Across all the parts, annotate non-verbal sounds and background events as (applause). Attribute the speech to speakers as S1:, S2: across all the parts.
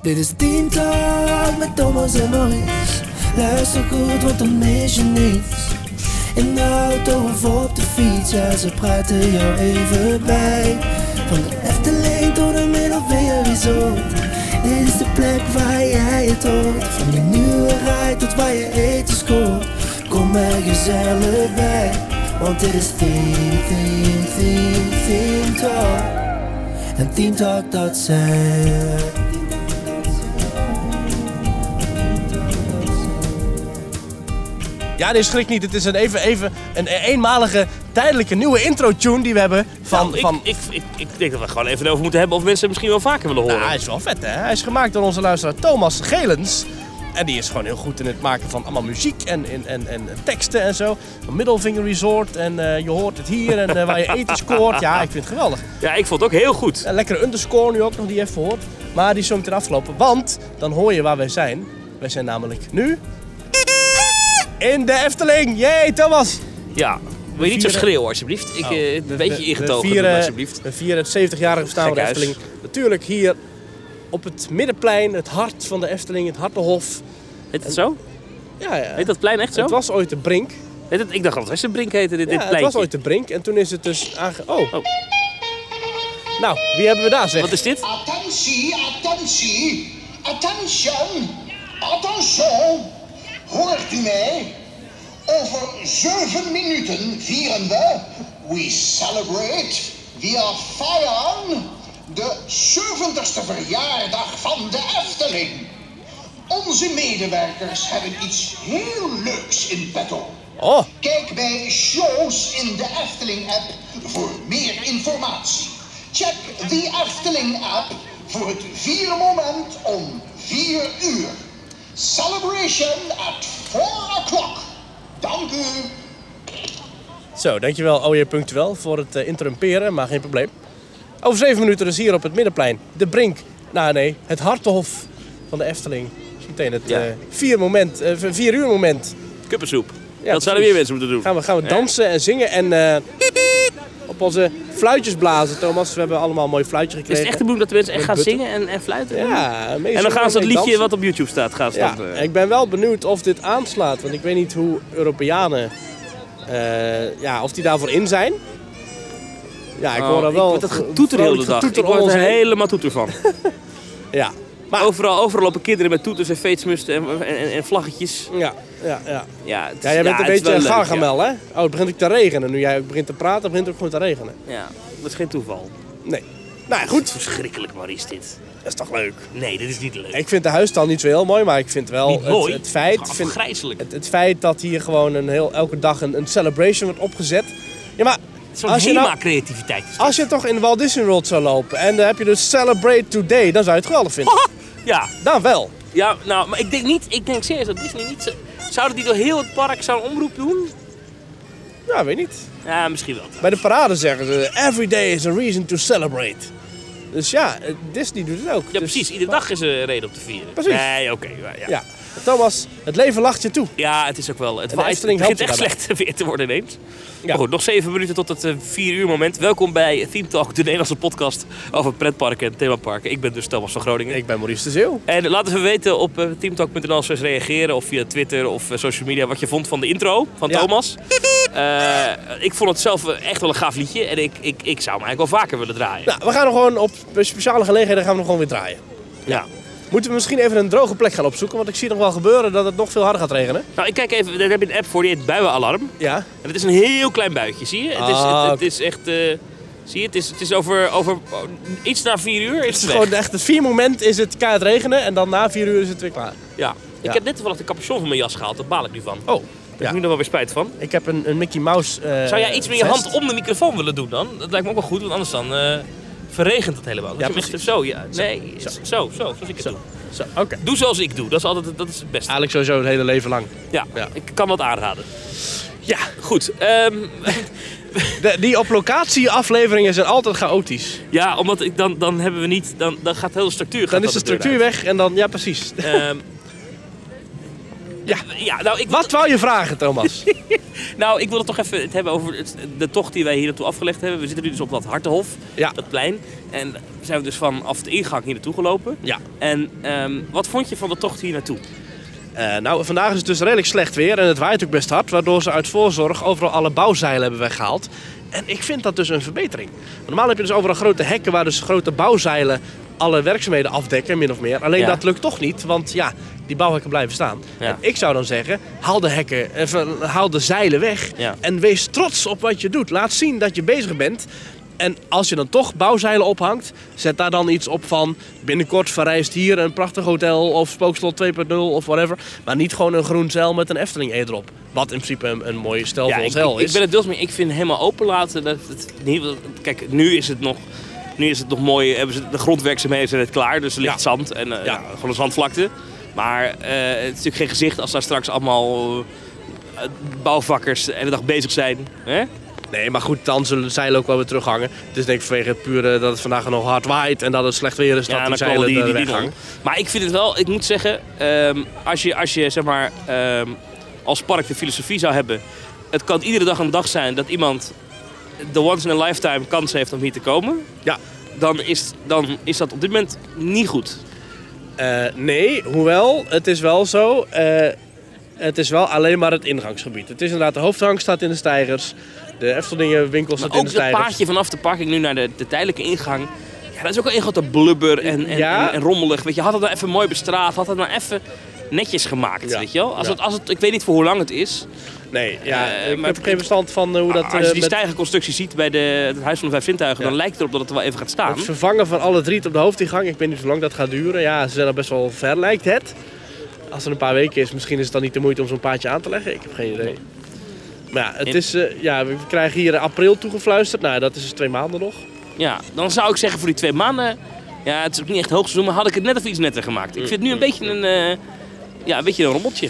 S1: Dit is Team Talk met Thomas en Maurice. Luister goed, want dan mis je niets. In de auto of op de fiets, ja, ze praten jou even bij. Van de Efteling tot de Middelveer Resort. Dit is de plek waar jij het hoort. Van je nieuwe rij tot waar je eten scoort. Kom er gezellig bij, want dit is Team, Team, Team, Team Talk. En Team Talk, dat zijn we.
S2: Ja, nee, schrik niet. Het is een even, even een eenmalige, tijdelijke nieuwe intro-tune die we hebben van...
S3: Nou, ik,
S2: van...
S3: Ik, ik, ik, denk dat we gewoon even over moeten hebben of mensen het misschien wel vaker willen horen.
S2: Nou, hij is wel vet, hè? Hij is gemaakt door onze luisteraar Thomas Gelens. En die is gewoon heel goed in het maken van allemaal muziek en, en, en, en teksten en zo. Middelvinger Resort en eh, je hoort het hier en eh, waar je eten scoort. Ja, ik vind het geweldig.
S3: Ja, ik vond het ook heel goed.
S2: Een lekkere underscore nu ook nog die je even hoort. Maar die is zo meteen afgelopen, want dan hoor je waar wij zijn. Wij zijn namelijk nu... In de Efteling! Jee, Thomas!
S3: Ja, wil je niet zo
S2: vieren-
S3: schreeuwen alsjeblieft? Ik,
S2: Oh.
S3: eh, een
S2: We-
S3: beetje
S2: we-
S3: ingetogen
S2: we vieren,
S3: doen, alsjeblieft.
S2: We vieren het 70-jarige bestaan van de
S3: Gekhuis.
S2: Efteling. Natuurlijk hier op het middenplein, het hart van de Efteling, het Hartenhof.
S3: Heet het zo?
S2: Ja, ja.
S3: Heet dat plein echt zo?
S2: Het was ooit de Brink.
S3: Heet het, ik dacht dat het Westerbrink heette, dit,
S2: ja,
S3: dit
S2: het was
S3: pleintje.
S2: ooit de Brink. En toen is het dus aange... Oh.
S3: Oh.
S2: Nou, wie hebben we daar zeg?
S3: Wat is dit?
S4: Attentie, attentie, attention, attention. Hoort u mij? Over zeven minuten vieren we, we celebrate via Fayaan, de 70ste verjaardag van de Efteling. Onze medewerkers hebben iets heel leuks in petto.
S2: Oh,
S4: Kijk bij Shows in de Efteling app voor meer informatie. Check die Efteling app voor het vierde moment om 4 uur. Celebration at 4 o'clock. Dank u.
S2: zo, dankjewel OJ Punctueel voor het eh, interrumperen, maar geen probleem. Over zeven minuten dus hier op het middenplein. De Brink. Nou nee, het Hartenhof van de Efteling. Zo meteen het
S3: Ja.
S2: eh, vier, moment, eh, vier uur moment.
S3: Kuppensoep.
S2: Ja,
S3: dat zouden
S2: precies.
S3: weer mensen moeten doen.
S2: Gaan we, gaan we dansen en zingen en eh, op onze fluitjes blazen, Thomas. We hebben allemaal een mooi fluitje
S3: Is
S2: gekregen.
S3: het echt de bedoeling dat de mensen echt
S2: Met
S3: gaan
S2: butter.
S3: zingen en, en fluiten?
S2: Ja, meestal
S3: En dan gaan ze
S2: mee
S3: dat liedje
S2: dansen.
S3: wat op YouTube staat gaan
S2: Ja,
S3: staan. eh.
S2: ik ben wel benieuwd of dit aanslaat. Want ik weet niet hoe Europeanen... eh, ja, of die daarvoor in zijn. Ja, ik
S3: Oh,
S2: hoor daar wel...
S3: word dat getoeter de
S2: vrolijk
S3: hele dag. Ik
S2: getoeter om
S3: word
S2: ons
S3: er
S2: heen.
S3: helemaal toeter van.
S2: Ja. (laughs) Maar,
S3: Overal, overal lopen kinderen met toeters en feestmusten en, en, en, en vlaggetjes.
S2: ja, ja, ja.
S3: Ja, het is-
S2: Ja, jij bent
S3: het
S2: een
S3: is
S2: beetje
S3: wel
S2: een
S3: leuk, ja.
S2: gargamel, hè? Oh, het begint ook te regenen. Nu jij begint te praten, begint het ook gewoon te regenen.
S3: Ja, dat is geen toeval.
S2: Nee. Nou ja, goed.
S3: Verschrikkelijk, maar is dit?
S2: Dat is toch leuk.
S3: Nee, dit is niet leuk.
S2: Ik vind de huistaal niet zo heel mooi, maar ik vind wel
S3: niet
S2: het,
S3: mooi.
S2: het feit...
S3: Het
S2: ik
S3: is
S2: vind-
S3: afgrijzelijk.
S2: het, het feit dat hier gewoon een heel, elke dag een, een celebration wordt opgezet. Ja, maar
S3: Zo'n
S2: als je nou-
S3: HEMA-creativiteit. is dat.
S2: als je toch in Walt Disney World zou lopen en dan heb je dus Celebrate Today, dan zou je het geweldig
S3: (laughs)
S2: vinden.
S3: Ja,
S2: Dan wel.
S3: ja, nou, maar ik denk niet, ik denk serieus dat Disney niet... zo- Zouden die door heel het park zo'n omroep doen?
S2: Ja, weet niet.
S3: Ja, misschien wel.
S2: Bij de parade zeggen ze, every day is a reason to celebrate. Dus ja, eh, Disney doet het ook.
S3: Ja,
S2: Dus-
S3: precies. Iedere dag is er een reden om te vieren.
S2: Precies.
S3: Nee, oké. ja, ja.
S2: Ja. Thomas, het leven lacht je toe.
S3: Ja, het is ook wel. Het,
S2: de
S3: waait, het
S2: Efteling
S3: begint echt
S2: helpt je
S3: slecht weer te worden ineens.
S2: Ja.
S3: Maar goed, nog zeven minuten tot het eh, vier uur moment. Welkom bij Theme Talk, de Nederlandse podcast over pretparken en themaparken. Ik ben dus Thomas van Groningen.
S2: Ik ben Maurice de Zeeuw.
S3: En laat even weten op eh, teamtalk.nl slash reageren of via Twitter of eh, social media wat je vond van de intro van
S2: Ja.
S3: Thomas. Eh, ik vond het zelf eh, echt wel een gaaf liedje en ik, ik, ik zou hem eigenlijk wel vaker willen
S2: (laughs)
S3: draaien.
S2: Nou, we gaan hem gewoon op speciale gelegenheden gaan we hem gewoon weer draaien.
S3: Ja.
S2: Moeten we misschien even een droge plek gaan opzoeken, want ik zie nog wel gebeuren dat het nog veel harder gaat regenen.
S3: Nou, ik kijk even, daar heb je een app voor, die heet Buienalarm.
S2: Ja.
S3: En het is een heel klein buitje, zie je? Het is,
S2: Ah,
S3: het, het
S2: oké.
S3: is echt. eh, zie je, het is, het is over, over oh, iets na vier uur. Is
S2: Het
S3: het
S2: is
S3: weg.
S2: gewoon echt, het vier moment is het keihard regenen en dan na vier uur is het weer klaar.
S3: Ja.
S2: Ja.
S3: Ik heb net toevallig de capuchon van mijn jas gehaald, daar baal ik nu van. Daar
S2: Oh,
S3: heb
S2: ja.
S3: ik nu nog wel weer spijt van.
S2: Ik heb een, een Mickey Mouse eh,
S3: Zou jij iets met je
S2: vest.
S3: hand om de microfoon willen doen dan? Dat lijkt me ook wel goed, want anders dan eh, verregent het helemaal.
S2: Ja,
S3: Ja, echt
S2: precies.
S3: zo, ja. Nee, zo, zo, zoals ik het doe.
S2: Zo, Oké.
S3: Doe zoals ik doe, dat is altijd dat is het beste.
S2: Eigenlijk sowieso het hele leven lang.
S3: Ja,
S2: ja.
S3: ik kan dat aanraden.
S2: Ja.
S3: Goed, ehm, (laughs)
S2: De, die op locatie afleveringen zijn altijd chaotisch.
S3: ja, omdat ik dan, dan hebben we niet, dan, dan gaat heel de structuur. gaat
S2: Dan is de
S3: dan deur uit.
S2: structuur weg en dan, ja precies.
S3: Ehm,
S2: Ja.
S3: Ja, nou, ik wil,
S2: Wat wou je vragen, Thomas?
S3: nou, ik wil het toch even het hebben over het- de tocht die wij hier naartoe afgelegd hebben. We zitten nu dus op dat Hartenhof,
S2: Ja.
S3: dat plein. En daar zijn we dus vanaf de ingang hier naartoe gelopen.
S2: ja.
S3: En ehm, wat vond je van de tocht hier naartoe?
S2: Eh, nou, vandaag is het dus redelijk slecht weer en het waait ook best hard, waardoor ze uit voorzorg overal alle bouwzeilen hebben weggehaald. En ik vind dat dus een verbetering. Normaal heb je dus overal grote hekken waar dus grote bouwzeilen alle werkzaamheden afdekken, min of meer. Alleen
S3: Ja.
S2: dat lukt toch niet, want ja, die bouwhekken blijven staan.
S3: Ja.
S2: En ik zou dan zeggen, haal de hekken, even, haal de zeilen weg
S3: Ja.
S2: en wees trots op wat je doet. Laat zien dat je bezig bent. En als je dan toch bouwzeilen ophangt, zet daar dan iets op van binnenkort verrijst hier een prachtig hotel of spookslot 2.0 of whatever. Maar niet gewoon een groen zeil met een Efteling E erop. Wat in principe een, een mooie stel voor
S3: ik,
S2: zeil
S3: ik-
S2: is.
S3: ik ben het deels mee. Ik vind helemaal open laten. Dat, het niet, kijk, nu is het nog. Nu is het nog mooi. Hebben ze de grondwerkzaamheden zijn net klaar. Dus er ligt
S2: Ja.
S3: zand en eh,
S2: Ja.
S3: gewoon een zandvlakte. Maar eh, het is natuurlijk geen gezicht als daar straks allemaal eh, bouwvakkers de hele dag bezig zijn. Hè?
S2: Nee, maar goed, dan zullen de zeilen ook wel weer terughangen. Het is denk ik vanwege het pure dat het vandaag nog hard waait en dat het slecht weer is dat die zeilen
S3: komen
S2: die,
S3: die
S2: weghangen.
S3: nog. Maar ik vind het wel, ik moet zeggen, ehm, als, je, als je zeg maar ehm, als park de filosofie zou hebben, het kan iedere dag een dag zijn dat iemand de once in a lifetime kans heeft om hier te komen.
S2: Ja.
S3: Dan is, dan is dat op dit moment niet goed.
S2: Eh, nee, hoewel, het is wel zo. eh, het is wel alleen maar het ingangsgebied. Het is inderdaad, de hoofdhang staat in de stijgers. De Eftelingen winkel staat
S3: Maar
S2: in de
S3: ook dat
S2: stijgers.
S3: paadje vanaf de parking nu naar de, de tijdelijke ingang. Ja, dat is ook wel een grote blubber en, en,
S2: Ja.
S3: en, en rommelig. Weet je, had het nou even mooi bestraat, had het nou even netjes gemaakt,
S2: Ja.
S3: weet je wel? Als
S2: Ja.
S3: het, als het, ik weet niet voor hoe lang het is,
S2: Nee, ja,
S3: Eh,
S2: ik
S3: maar
S2: heb
S3: het- Ah,
S2: geen bestand van eh, hoe dat...
S3: als
S2: eh,
S3: je die
S2: met
S3: stijgerconstructie ziet bij de, het Huis van de Vijf Zintuigen,
S2: Ja.
S3: dan lijkt het erop dat het er wel even gaat staan.
S2: het vervangen van alle drie op de hoofdingang. Ik weet niet hoe lang dat gaat duren. Ja, ze zijn al best wel ver, lijkt het. Als er een paar weken is, misschien is het dan niet de moeite om zo'n paadje aan te leggen. Ik heb geen idee. Maar ja, het
S3: In-
S2: is, eh, ja, we krijgen hier april toegefluisterd. Nou, dat is dus twee maanden nog.
S3: Ja, dan zou ik zeggen voor die twee maanden, ja, het is ook niet echt hoogseizoen, maar had ik het net even iets netter gemaakt. Ik
S2: Mm.
S3: vind het nu een beetje een, eh, ja, een beetje een rommeltje.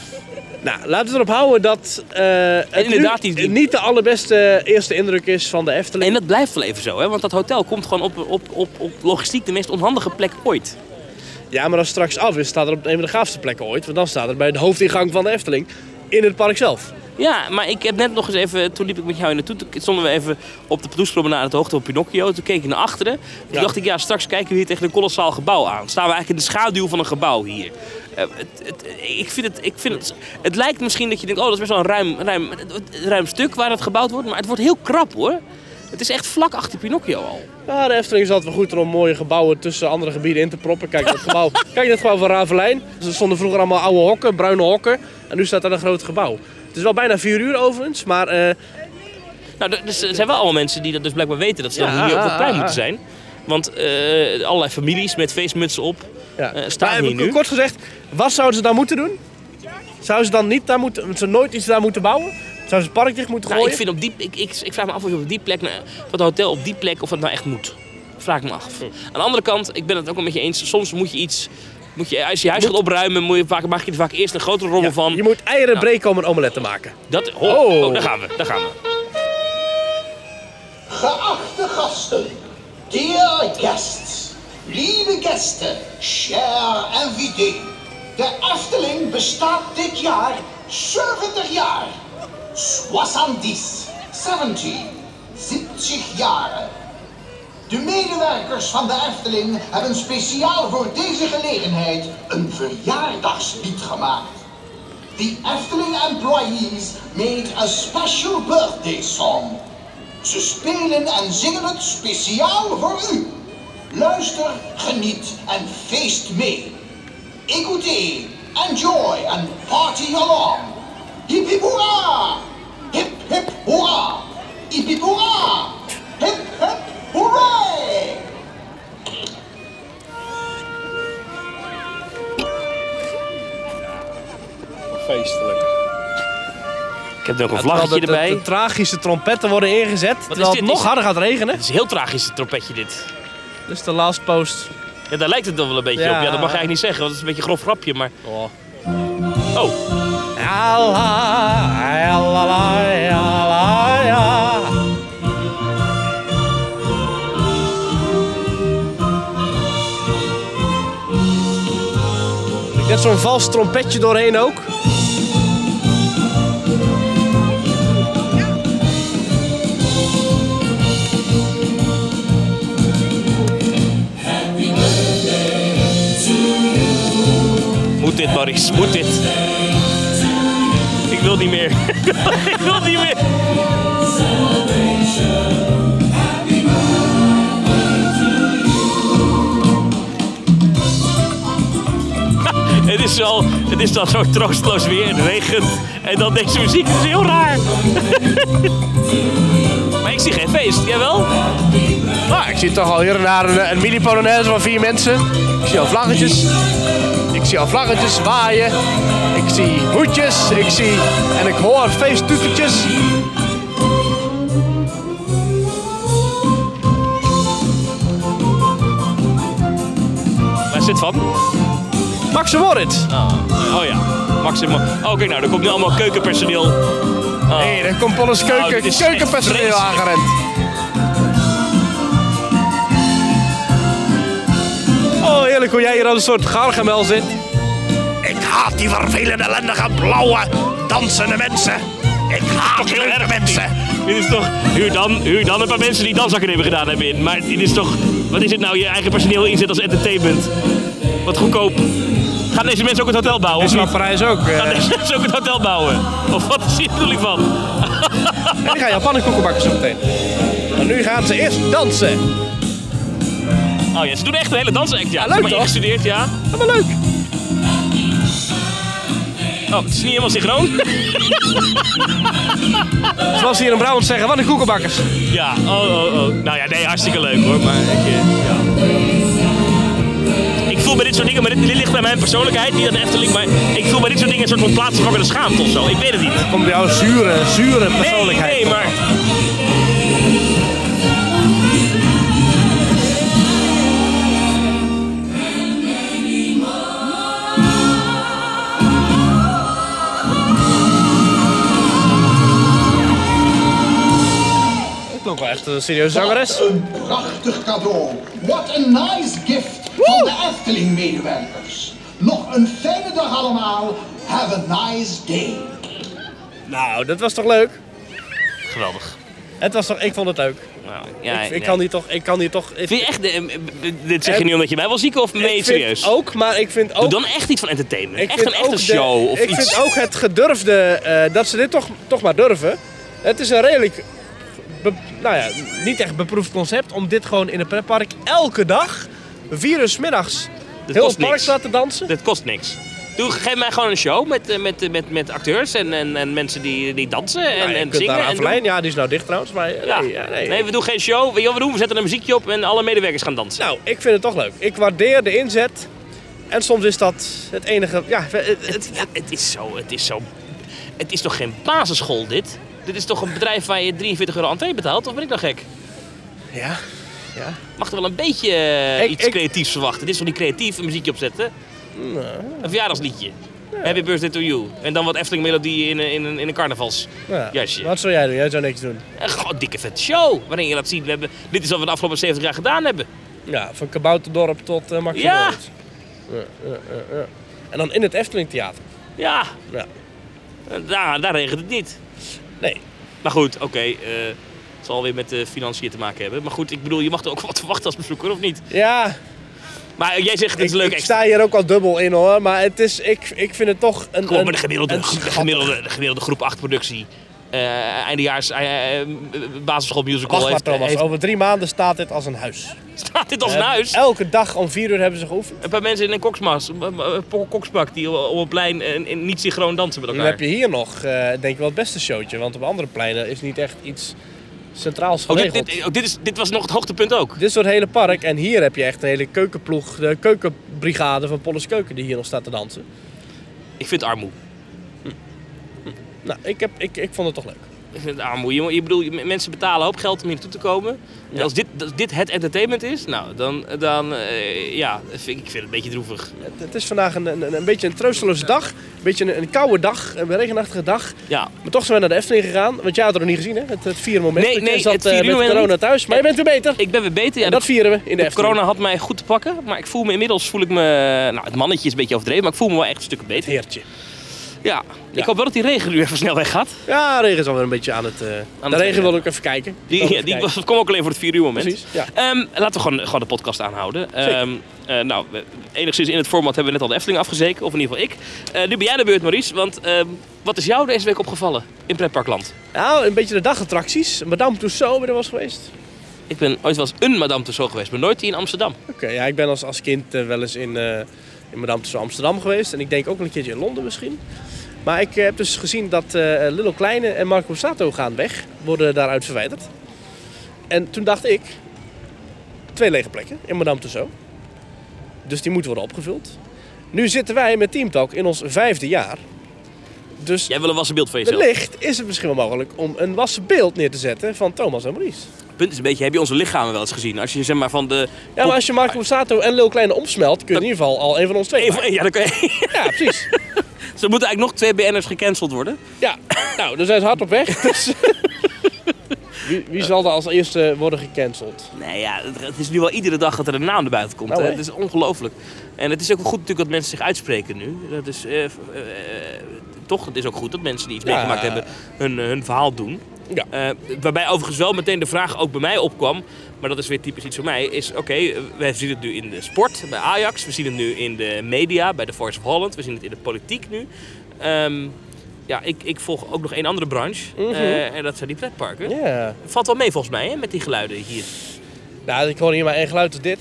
S2: Nou, laten we erop houden dat eh, het
S3: inderdaad,
S2: nu
S3: die- die-
S2: niet de allerbeste eerste indruk is van de Efteling.
S3: En dat blijft wel even zo, hè? want dat hotel komt gewoon op, op, op, op logistiek de meest onhandige plek ooit.
S2: Ja, maar als het straks af is, staat er op een van de gaafste plekken ooit. Want dan staat er bij de hoofdingang van de Efteling in het park zelf.
S3: Ja, maar ik heb net nog eens even, toen liep ik met jou hier naartoe, toen stonden we even op de Poespromenade, de hoogte van Pinocchio. Toen keek ik naar achteren. Toen
S2: Ja.
S3: dacht ik, ja, straks kijken we hier tegen een kolossaal gebouw aan. Staan we eigenlijk in de schaduw van een gebouw hier. Eh, het, het, ik vind het, ik vind het, het lijkt misschien dat je denkt, oh, dat is best wel een ruim, ruim, ruim stuk waar het gebouwd wordt, maar het wordt heel krap hoor. Het is echt vlak achter Pinocchio al.
S2: Maar Nou, de Efteling is altijd wel goed om mooie gebouwen tussen andere gebieden in te proppen. Kijk, dat gebouw,
S3: (laughs)
S2: kijk dit gebouw van Ravelijn. Er stonden vroeger allemaal oude hokken, bruine hokken. En nu staat daar een groot gebouw. Het is wel bijna vier uur overigens, maar eh,
S3: Nou, er, er zijn wel allemaal mensen die dat dus blijkbaar weten, dat ze
S2: Ja,
S3: dan hier op
S2: ah,
S3: het plein
S2: ah,
S3: moeten zijn. Want eh, allerlei families met feestmutsen op
S2: ja.
S3: eh, staan
S2: Maar
S3: hier nu.
S2: Kort gezegd, wat zouden ze daar moeten doen? Zouden ze dan niet daar moeten, ze nooit iets daar moeten bouwen? Zouden ze het park dicht moeten
S3: Nou,
S2: gooien?
S3: ik, vind op die, ik, ik, ik vraag me af of je op die plek, nou, van het hotel op die plek, of dat nou echt moet. Vraag ik me af.
S2: Hm.
S3: Aan de andere kant, ik ben het ook een beetje eens. Soms moet je iets, moet je, als je je huis gaat opruimen, moet je vaak, maak je er vaak eerst een grotere rommel
S2: Ja,
S3: van.
S2: Je moet eieren
S3: Ja.
S2: breken om een omelet te maken.
S3: Dat, oh,
S2: Oh.
S3: oh, daar gaan we, daar gaan we.
S4: Geachte gasten, dear guests, liebe Gäste, cher invité. De Efteling bestaat dit jaar 70 jaar. 70, 70, 70 jaren. De medewerkers van de Efteling hebben speciaal voor deze gelegenheid een verjaardagslied gemaakt. The Efteling employees made a special birthday song. Ze spelen en zingen het speciaal voor u. Luister, geniet en feest mee. Écoutez, enjoy and party along. Hip hip hoera! Hip hip hoera! Hip hip hoera! Hip hip hooray!
S2: Feestelijk.
S3: Ik heb er ook een
S2: Terwijl
S3: vlaggetje
S2: de, de-
S3: erbij.
S2: de tragische trompetten worden ingezet. terwijl het
S3: dit?
S2: nog
S3: Is-
S2: harder gaat regenen.
S3: Het is een heel tragisch, het trompetje dit.
S2: Dus de last post.
S3: Ja, daar lijkt het dan wel een beetje
S2: Ja.
S3: op. Ja, dat mag je eigenlijk niet zeggen, want het is een beetje een grof grapje. Maar,
S2: Oh.
S3: oh,
S2: Allah, Allah, Allah, Allah. Net zo'n vals trompetje doorheen ook.
S5: Moet dit, Maurice? Moet dit? Ik wil niet meer. (laughs) ik wil niet meer. (laughs) Het is, zo, het is dan zo troosteloos weer, het regent en dan deze muziek. Het is heel raar. (laughs) maar ik zie geen feest, jawel?
S2: Nou, ik zie toch al hier en daar een, een mini polonaise van vier mensen. Ik zie al vlaggetjes. Ik zie al vlaggetjes waaien. Ik zie hoedjes. Ik zie... En ik hoor feesttoetertjes.
S5: Waar is dit van?
S2: Max de Moritz.
S5: Oh ja, Maximo. Oh kijk nou, er komt nu allemaal keukenpersoneel. Ah.
S2: Hé, hey, daar komt Polles
S5: Nou,
S2: keuken,
S5: dit is echt
S2: keukenpersoneel
S5: vreselijk.
S2: aangerend. Oh, heerlijk hoe jij hier als een soort gargamel zit.
S6: Ik haat die vervelende, ellendige, blauwe, dansende mensen. Ik haat
S5: heel
S6: die
S5: erg,
S6: mensen.
S5: Dit is toch, huur dan, huur dan een paar mensen die dansakken hebben gedaan hebben in. Maar dit is toch, wat is het nou, je eigen personeel inzet als entertainment? Wat goedkoop. Gaan deze mensen ook het hotel bouwen?
S2: Is
S5: Of
S2: van
S5: niet?
S2: Parijs ook. eh.
S5: (laughs) Gaan deze mensen ook het hotel bouwen? Of wat is hier de bedoeling van?
S2: En ik ga Japanen koeken bakken zo meteen. Maar nu gaan ze eerst dansen.
S5: Oh ja, ze doen echt een hele dansact, ja.
S2: Ja, leuk,
S5: maar
S2: toch?
S5: ingestudeerd, ja.
S2: Dat wel leuk.
S5: Oh, het is niet helemaal synchroon. (laughs)
S2: Zoals ze hier in Brabant zeggen, wat een koekenbakkers.
S5: Ja, oh, oh, oh. Nou ja, nee, hartstikke leuk hoor, maar ik, eh, ja. Ik voel bij dit soort dingen, maar dit, dit ligt bij mijn persoonlijkheid, niet aan de Efteling, maar ik voel bij dit soort dingen een soort van plaatsvervangende schaamte of zo. Ik weet het niet.
S2: Komt jouw zure, zure
S5: Nee,
S2: persoonlijkheid.
S5: nee, maar...
S2: Ik klonk wel echt een serieuze zangeres.
S4: Wat een prachtig cadeau. What a nice gift van de Efteling-medewerkers. Nog een fijne dag allemaal. Have a nice day.
S2: Nou, dat was toch leuk?
S5: Geweldig.
S2: Het was toch, ik vond het leuk.
S5: Nou, ja,
S2: ik, ik,
S5: nee.
S2: kan hier toch, ik kan hier toch... Ik,
S5: Vind je echt... eh, eh, eh, dit zeg je nu omdat je mij wil zieken of nee,
S2: ik
S5: serieus?
S2: vind ook, maar ik vind
S5: Doe
S2: ook...
S5: dan echt iets van entertainment.
S2: ik
S5: echt
S2: vind
S5: een echte
S2: ook de-
S5: show of
S2: ik
S5: iets.
S2: vind ook het gedurfde, eh, dat ze dit toch, toch maar durven. Het is een redelijk, be- nou ja, niet echt beproefd concept om dit gewoon in een pretpark elke dag, vier uur 's middags, heel
S5: kost
S2: het park
S5: niks.
S2: te laten dansen.
S5: Dit kost niks. Doe, geef mij gewoon een show met, eh, met, eh, met, met acteurs en, en, en mensen die, die dansen en,
S2: Nou, je
S5: en
S2: kunt
S5: zingen.
S2: daar
S5: en
S2: aan
S5: doen.
S2: verleiden. Ja, die is nou dicht trouwens, maar eh,
S5: Ja.
S2: nee, ja, nee.
S5: nee. we doen geen show. Weet je wat we doen? We zetten een muziekje op en alle medewerkers gaan dansen.
S2: Nou, ik vind het toch leuk. Ik waardeer de inzet. En soms is dat het enige. Ja, het- het- het-
S5: het, het is zo, het is zo... Het is toch geen basisschool dit? Dit is toch een bedrijf waar je 43 euro entree betaalt? Of ben ik nou gek?
S2: ja.
S5: Mag er wel een beetje
S2: Ik-
S5: eh, iets
S2: ik- Nou.
S5: creatiefs verwachten? Dit is toch niet creatief, een muziekje opzetten? Een verjaardagsliedje. Happy birthday to you. En dan wat Efteling melodie in, een- in, een- in een carnavals.
S2: Ja.
S5: Jasje.
S2: Wat zou jij doen? Jij zou niks doen.
S5: Een gewoon dikke vette show. Waarin je laat zien, we hebben, dit is wat we de afgelopen 70 jaar gedaan hebben.
S2: Ja, van Kabouterdorp tot eh Max van
S5: Ja.
S2: Lorenz. Ja, ja, ja, ja. En dan in het Efteling Theater.
S5: Ja,
S2: Ja.
S5: en daar, daar regent het niet.
S2: Nee.
S5: Maar goed, oké. eh, het zal weer met de financiën te maken hebben. Maar goed, ik bedoel, je mag er ook wat verwachten als bezoeker, of niet?
S2: Ja,
S5: Maar eh, jij zegt, het
S2: ik,
S5: is leuk
S2: ik
S5: extra.
S2: sta hier ook al dubbel in hoor. Maar het is, ik, ik vind het toch een.
S5: Kom,
S2: een-
S5: maar de gemiddelde,
S2: een
S5: de
S2: schat-
S5: gemiddelde, de gemiddelde groep 8 productie. eh eindejaars eh, eh, basisschool musical
S2: Wacht maar
S5: heeft,
S2: Thomas,
S5: heeft-
S2: over drie maanden staat dit als een huis.
S5: staat dit als een
S2: Eh,
S5: huis.
S2: Elke dag om vier uur hebben ze geoefend.
S5: Een paar mensen in een koksmas, een- een- een koksbak die op op een plein en, en niet synchroon dansen met
S2: Dan
S5: elkaar.
S2: heb je hier nog, eh, denk ik wel, het beste showtje. Want op andere pleinen is niet echt iets centraals
S5: Oh,
S2: geregeld.
S5: dit,
S2: dit,
S5: dit, oh, dit, is, dit was nog het hoogtepunt ook.
S2: soort hele park. En hier heb je echt een hele keukenploeg, de keukenbrigade van Polles Keuken die hier nog staat te dansen.
S5: Ik vind het armoe.
S2: Nou, ik, heb, ik, ik vond het toch leuk.
S5: Ik vind het armoe. Je, je bedoel, m- mensen betalen een hoop geld om hier naartoe te komen. En als dit, als dit het entertainment is, nou, dan, dan eh, ja, vind, ik- ik vind het een beetje droevig.
S2: Het, het is vandaag een, een, een beetje een troosteloze dag. Een beetje een, een koude dag, een regenachtige dag.
S5: Ja.
S2: Maar toch zijn we naar de Efteling gegaan. Want jij had het nog niet gezien, hè? Het, het vieren moment.
S5: Nee,
S2: Want jij
S5: nee,
S2: zat
S5: het
S2: eh,
S5: vieren
S2: met
S5: moment
S2: corona
S5: niet.
S2: thuis. Maar je bent weer beter.
S5: Ik ben weer beter. Ja,
S2: en dat vieren we in de
S5: de
S2: Efteling.
S5: corona had mij goed te pakken, maar ik voel me inmiddels, voel ik me, nou, het mannetje is een beetje overdreven, maar ik voel me wel echt een stuk beter.
S2: Heertje.
S3: Ja. Ik hoop wel dat die regen nu even snel weg gaat.
S2: Ja, de regen is alweer een beetje aan het... eh, de
S3: het-
S2: regen wil ik even kijken. Wil
S3: Die,
S2: ik
S3: ja,
S2: even
S3: die
S2: kijken.
S5: (laughs)
S3: was, kwam ook alleen voor het 4 uur moment.
S2: Precies, ja.
S3: Ehm, laten we gewoon, gewoon de podcast aanhouden. Ehm, eh, nou, we- enigszins in het format hebben we net al de Efteling afgezeken. Of in ieder geval ik. Eh, nu ben jij de beurt, Maurice. Want ehm, wat is jou deze week opgevallen in pretparkland?
S2: Nou, een beetje de dagattracties. Madame Tussauds ben er was geweest.
S3: Ik ben ooit wel eens een Madame Tussauds geweest, maar nooit die in Amsterdam.
S2: Oké, ja, ik ben als, als kind eh, wel eens in, eh, in Madame Tussauds Amsterdam geweest. En ik denk ook wel een keertje in Londen misschien. Maar ik eh, heb dus gezien dat eh Lillo Kleine en Marco Sato gaan weg. Worden daaruit verwijderd. En toen dacht ik, twee lege plekken in Madame Tussauds. Dus die moeten worden opgevuld. Nu zitten wij met Team Talk in ons vijfde jaar. Dus
S3: Jij wil een wassenbeeld van jezelf.
S2: wellicht is het misschien wel mogelijk om een wassen beeld neer te zetten van Thomas en Maurice.
S3: Het punt is een beetje, heb je onze lichamen wel eens gezien? Als je zeg maar van de...
S2: Ja, maar als je Marco Borsato en Lil Kleine omsmelt, kun je in ieder geval al een van ons twee
S3: Eén
S2: maken.
S3: voor één, (laughs) ja, dan kan je...
S2: Ja, precies.
S3: (laughs) Ze moeten eigenlijk nog twee BN'ers gecanceld worden.
S2: Ja, nou, dan zijn ze hard op weg. Dus... Wie, wie zal er als eerste worden gecanceld?
S3: Nee, ja, het- het is nu wel iedere dag dat er een naam naar buiten komt.
S2: Nou,
S3: hè.
S2: hè?
S3: het is ongelooflijk. En het is ook goed natuurlijk dat mensen zich uitspreken nu. Dat is, eh, v- eh, eh, toch, het is ook goed dat mensen die iets
S2: Ja.
S3: meegemaakt hebben hun, eh, hun verhaal doen.
S2: Ja.
S3: Eh, waarbij overigens wel meteen de vraag ook bij mij opkwam, maar dat is weer typisch iets voor mij, is oké, eh, we zien het nu in de sport bij Ajax, we zien het nu in de media bij de Voice of Holland, we zien het in de politiek nu. Ehm, ja, ik, ik volg ook nog één andere branche eh, en dat zijn die pretparken.
S2: Mhm. Ja.
S3: Valt wel mee volgens mij hè, met die geluiden hier.
S2: Nou, ik hoor hier maar één geluid als dit.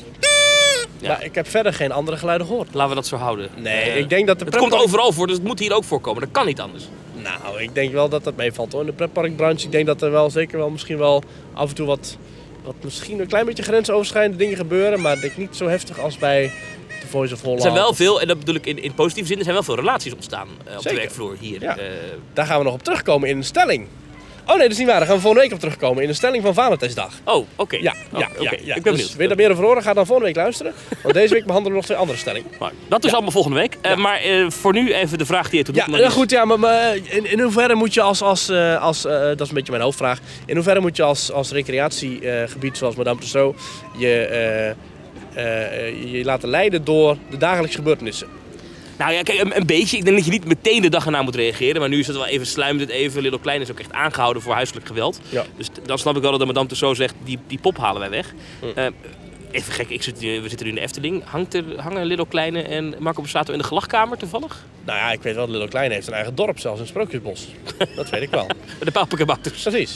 S2: Maar ik heb verder geen andere geluiden gehoord.
S3: Laten we dat zo houden.
S2: Nee,
S3: Eh,
S2: ik denk dat de
S3: Het komt
S2: pretpark-
S3: overal voor, dus het moet hier ook voorkomen. Dat kan niet anders.
S2: Nou, ik denk wel dat dat meevalt hoor. In de pretparkbranche, ik denk dat er wel zeker wel misschien wel af en toe wat, wat misschien een klein beetje grensoverschrijdende dingen gebeuren. Maar ik denk niet zo heftig als bij The Voice of Holland.
S3: Er zijn wel veel, en dat bedoel ik in, in positieve zin, er zijn wel veel relaties ontstaan eh, op de
S2: Zeker.
S3: werkvloer hier.
S2: Ja.
S3: Eh,
S2: Daar gaan we nog op terugkomen in een stelling. Oh nee, dat is niet waar. Daar gaan we volgende week op terugkomen in een stelling van Valentijnsdag.
S3: oh, oké.
S2: Ja, ja,
S3: Oh,
S2: ja,
S3: oké.
S2: ja.
S3: Ik ben
S2: Dus
S3: benieuwd.
S2: wil je daar meer over horen? Ga dan volgende week (laughs) luisteren. Want deze week behandelen we nog twee andere stellingen.
S3: Maar dat is allemaal volgende week. Eh, maar eh, voor nu even de vraag die je tot
S2: Ja,
S3: doet.
S2: eh, goed, ja, maar, maar in, in hoeverre moet je als, als, eh, als eh, dat is een beetje mijn hoofdvraag, in hoeverre moet je als, als recreatiegebied zoals Madame Tussauds je, eh, eh, eh, je laten leiden door de dagelijkse gebeurtenissen?
S3: Nou ja, kijk, een, een beetje. Ik denk dat je niet meteen de dag erna moet reageren. Maar nu is het wel even sluimend het even. Little Klein is ook echt aangehouden voor huiselijk geweld.
S2: Ja.
S3: Dus t- dan snap ik wel dat de madame Tussauds zegt, die, die pop halen wij weg.
S2: Hm.
S3: Eh, even gek, ik zit, nu- we zitten nu in de Efteling. Hangt er, hangen Little Kleine en Marco Borsato in de gelachkamer toevallig?
S2: Nou ja, ik weet wel, Lillo Klein heeft een eigen dorp zelfs in Sprookjesbos. Dat weet ik (laughs) wel.
S3: Met de papakabouters.
S2: Precies.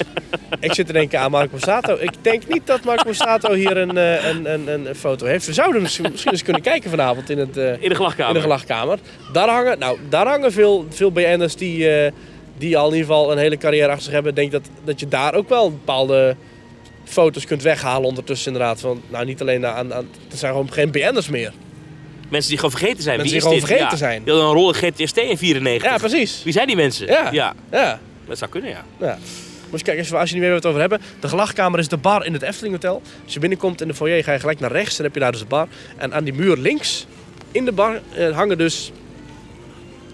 S2: Ik zit te denken aan Marco Borsato. Ik denk niet dat Marco Borsato hier een, eh, een, een, een, een foto heeft. We zouden misschien, misschien eens kunnen kijken vanavond in, het, eh,
S3: In de gelachkamer.
S2: in de gelagkamer. Daar hangen, nou, daar hangen veel, veel BN'ers die, eh, die al in ieder geval een hele carrière achter zich hebben. Ik denk dat, dat je daar ook wel bepaalde foto's kunt weghalen ondertussen inderdaad. Want nou, niet alleen aan, aan... Er zijn gewoon geen BN'ers meer.
S3: Mensen die gewoon vergeten zijn.
S2: Mensen
S3: Wie
S2: die
S3: is
S2: gewoon
S3: dit?
S2: vergeten
S3: ja.
S2: zijn.
S3: Die hadden een rol in GTST in 94.
S2: Ja, precies.
S3: Wie zijn die mensen?
S2: Ja. Ja.
S3: dat zou kunnen, ja.
S2: Ja. Moet je kijken, als je- als je niet meer weet wat we het over hebben. De gelagkamer is de bar in het Efteling Hotel. Als je binnenkomt in de foyer ga je gelijk naar rechts. Dan heb je daar dus de bar. En aan die muur links in de bar eh, hangen dus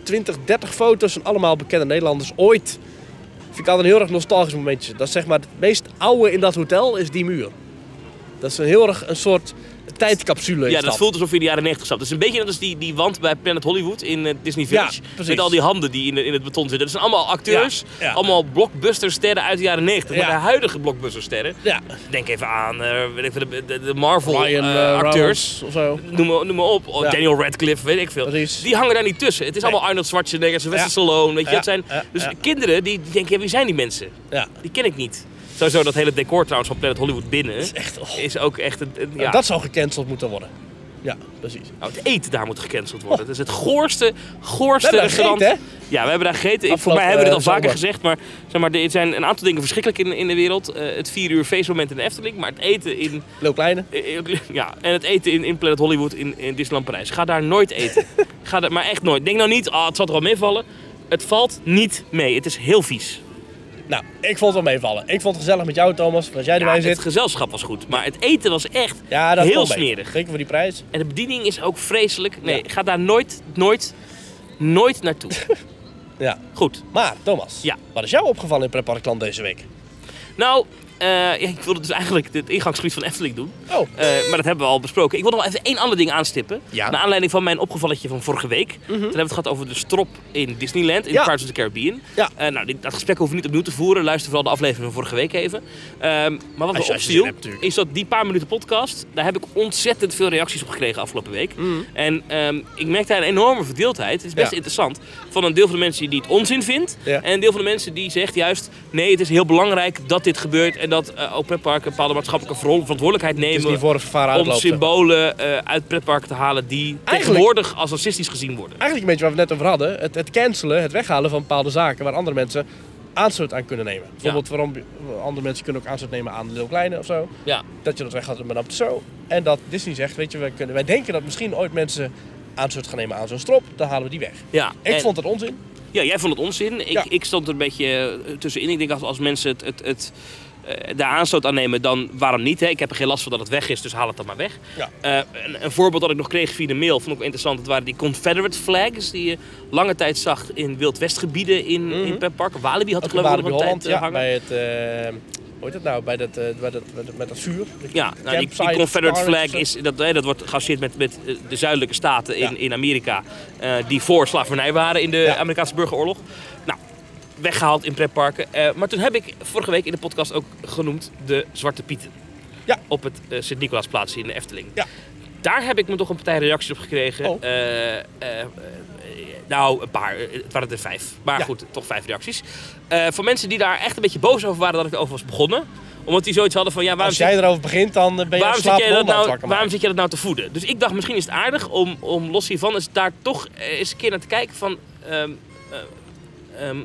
S2: 20, 30 foto's van allemaal bekende Nederlanders ooit. Vind ik altijd een heel erg nostalgisch momentje. Dat is zeg maar het meest oude in dat hotel is die muur. Dat is een heel erg een soort tijdcapsule. is
S3: Ja, dat voelt alsof je in de jaren 90 stapt. Dat is een beetje net als die, die wand bij Planet Hollywood in eh, Disney Village.
S2: Ja, precies.
S3: met al die handen die in, de- in het beton zitten. Dat zijn allemaal acteurs,
S2: Ja, ja.
S3: allemaal blockbustersterren uit de jaren 90. Maar
S2: Ja.
S3: de huidige blockbustersterren,
S2: Ja,
S3: denk even aan eh, weet ik veel, de, de, de Marvel
S2: Ryan
S3: eh,
S2: eh,
S3: acteurs.
S2: Reynolds of zo.
S3: Noem maar, noem maar op. Oh,
S2: Ja.
S3: Daniel Radcliffe, weet ik veel.
S2: Precies.
S3: Die hangen daar niet tussen. Het is allemaal Arnold Schwarzenegger, Sylvester
S2: Ja.
S3: Stallone. Weet je,
S2: Ja,
S3: dat zijn,
S2: ja,
S3: dus
S2: ja.
S3: kinderen die, die denken, ja, wie zijn die mensen?
S2: Ja.
S3: Die ken ik niet. Sowieso dat hele decor trouwens van Planet Hollywood binnen. Is,
S2: Echt, oh,
S3: ook echt... Een, een- ja.
S2: Dat zou gecanceld moeten worden. Ja, precies.
S3: Nou, het eten daar moet gecanceld worden. Het is het goorste, goorste
S2: Oh. We hebben daar
S3: restaurant.
S2: gegeten,
S3: Ja, we hebben daar gegeten. Ik- Voor
S2: Afgelopen,
S3: mij hebben we dit al
S2: eh,
S3: vaker
S2: zomer.
S3: gezegd. Maar, zeg maar er zijn een aantal dingen verschrikkelijk in, in de wereld. Eh, het vier uur feestmoment in de Efteling. Maar het eten in...
S2: Leo Kleine.
S3: eh, eh, (laughs) Ja, en het eten in, in Planet Hollywood in, in Disneyland Parijs. Ga daar nooit eten. Ga daar, maar echt nooit. Denk nou niet, ah, het zal er wel meevallen. Het valt niet mee. Het is heel vies.
S2: Nou, ik vond het wel meevallen. Ik vond het gezellig met jou, Thomas, als jij
S3: Ja,
S2: erbij
S3: het
S2: zit.
S3: gezelschap was goed. Maar het eten was echt
S2: Ja, dat
S3: heel
S2: kon beter.
S3: smerig.
S2: Zeker voor die prijs.
S3: En de bediening is ook vreselijk. Nee, ga daar nooit, nooit, nooit naartoe.
S2: Ja.
S3: Goed.
S2: Maar, Thomas,
S3: Ja.
S2: wat is jou opgevallen in Preparkland deze week?
S3: Nou, eh, ja, ik wilde dus eigenlijk het ingangsgebied van Efteling doen.
S2: Oh.
S3: Eh, maar dat hebben we al besproken. Ik wil nog wel even één ander ding aanstippen.
S7: Ja. Mhm.
S3: Naar aanleiding van mijn opgevalletje van vorige week. Toen hebben we het gehad over de strop in Disneyland, in
S2: Ja.
S3: Pirates of the Caribbean.
S2: Ja.
S3: Eh, nou, dit- dat gesprek hoeven we niet opnieuw te voeren. Luister vooral de aflevering van vorige week even. Ehm, maar wat
S7: Als
S3: me
S7: je- als je
S3: opviel,
S7: zin hebt, natuurlijk.
S3: is dat die paar minuten podcast, daar heb ik ontzettend veel reacties op gekregen afgelopen week.
S7: Mhm.
S3: En ehm, ik merk daar een enorme verdeeldheid. Het is best
S2: Ja.
S3: interessant. Van een deel van de mensen die het onzin vindt.
S2: Ja.
S3: En een deel van de mensen die zegt juist, nee, het is heel belangrijk dat dit gebeurt. En dat eh ook pretparken een bepaalde maatschappelijke ver- verantwoordelijkheid
S2: is niet
S3: nemen.
S2: voor het gevaar
S3: eh, Om
S2: uitloopt. zeg maar.
S3: symbolen eh, uit pretparken te halen die tegenwoordig als racistisch gezien worden.
S2: Eigenlijk een beetje waar we het net over hadden. Het, het cancelen, het weghalen van bepaalde zaken waar andere mensen aanstoot aan kunnen nemen. Bijvoorbeeld waarom andere mensen kunnen ook aanstoot nemen aan Lil Kleine of zo.
S3: Ja.
S2: Dat je dat weghaalt met een zo. En dat Disney zegt, weet je, wij, kunnen, wij denken dat misschien ooit mensen aanstoot gaan nemen aan zo'n strop. Dan halen we die weg.
S3: Ja,
S2: Ik
S3: en-
S2: vond dat onzin.
S3: Ja, jij vond het onzin. Ik,
S2: Ja.
S3: ik stond er een beetje eh, tussenin. Ik denk als, als mensen het, het, het, eh, daar aanstoot aan nemen, dan waarom niet? Hè? Ik heb er geen last van dat het weg is, dus haal het dan maar weg.
S2: Ja.
S3: Eh, een, een voorbeeld dat ik nog kreeg via de mail, vond ik wel interessant. Dat waren die Confederate flags die je lange tijd zag in Wild Westgebieden in, in pretparken. Walibi had
S2: Mhm. Ook
S3: ik
S2: in
S3: geloof ik
S2: Walibi
S3: nog een tijd
S2: Holland,
S3: eh,
S2: ja,
S3: hangen.
S2: bij het, eh, hoe heet dat nou, bij dat, eh, bij dat, met, met dat vuur. De
S3: Ja, nou, die, die
S2: campsite,
S3: Confederate
S2: Scarlet,
S3: flag
S2: zo.
S3: is, dat, hè, dat wordt geassocieerd met, met eh, de zuidelijke staten in,
S2: Ja.
S3: in Amerika. eh, die voor slavernij waren in de
S2: Ja.
S3: Amerikaanse burgeroorlog. Nou, weggehaald in pretparken. Eh, maar toen heb ik vorige week in de podcast ook genoemd de Zwarte Pieten.
S2: Ja.
S3: Op het eh, Sint-Nicolaasplaatsje in de Efteling.
S2: Ja.
S3: Daar heb ik me toch een partij reacties op gekregen.
S2: Oh.
S3: Eh, eh, eh, nou, een paar. Eh, Het waren er vijf. Maar
S2: Ja.
S3: goed, toch vijf reacties. Eh, van mensen die daar echt een beetje boos over waren dat ik erover was begonnen. Omdat die zoiets hadden van, ja, waarom
S2: Als jij erover begint, dan eh, ben je
S3: waarom
S2: als
S3: zit, jij
S2: slapende
S3: dat
S2: hond aan het
S3: nou,
S2: wakker
S3: waarom
S2: maken.
S3: zit jij dat nou te voeden? Dus ik dacht, misschien is het aardig om, om los hiervan eens daar toch eh, eens een keer naar te kijken van... ehm, eh, ehm,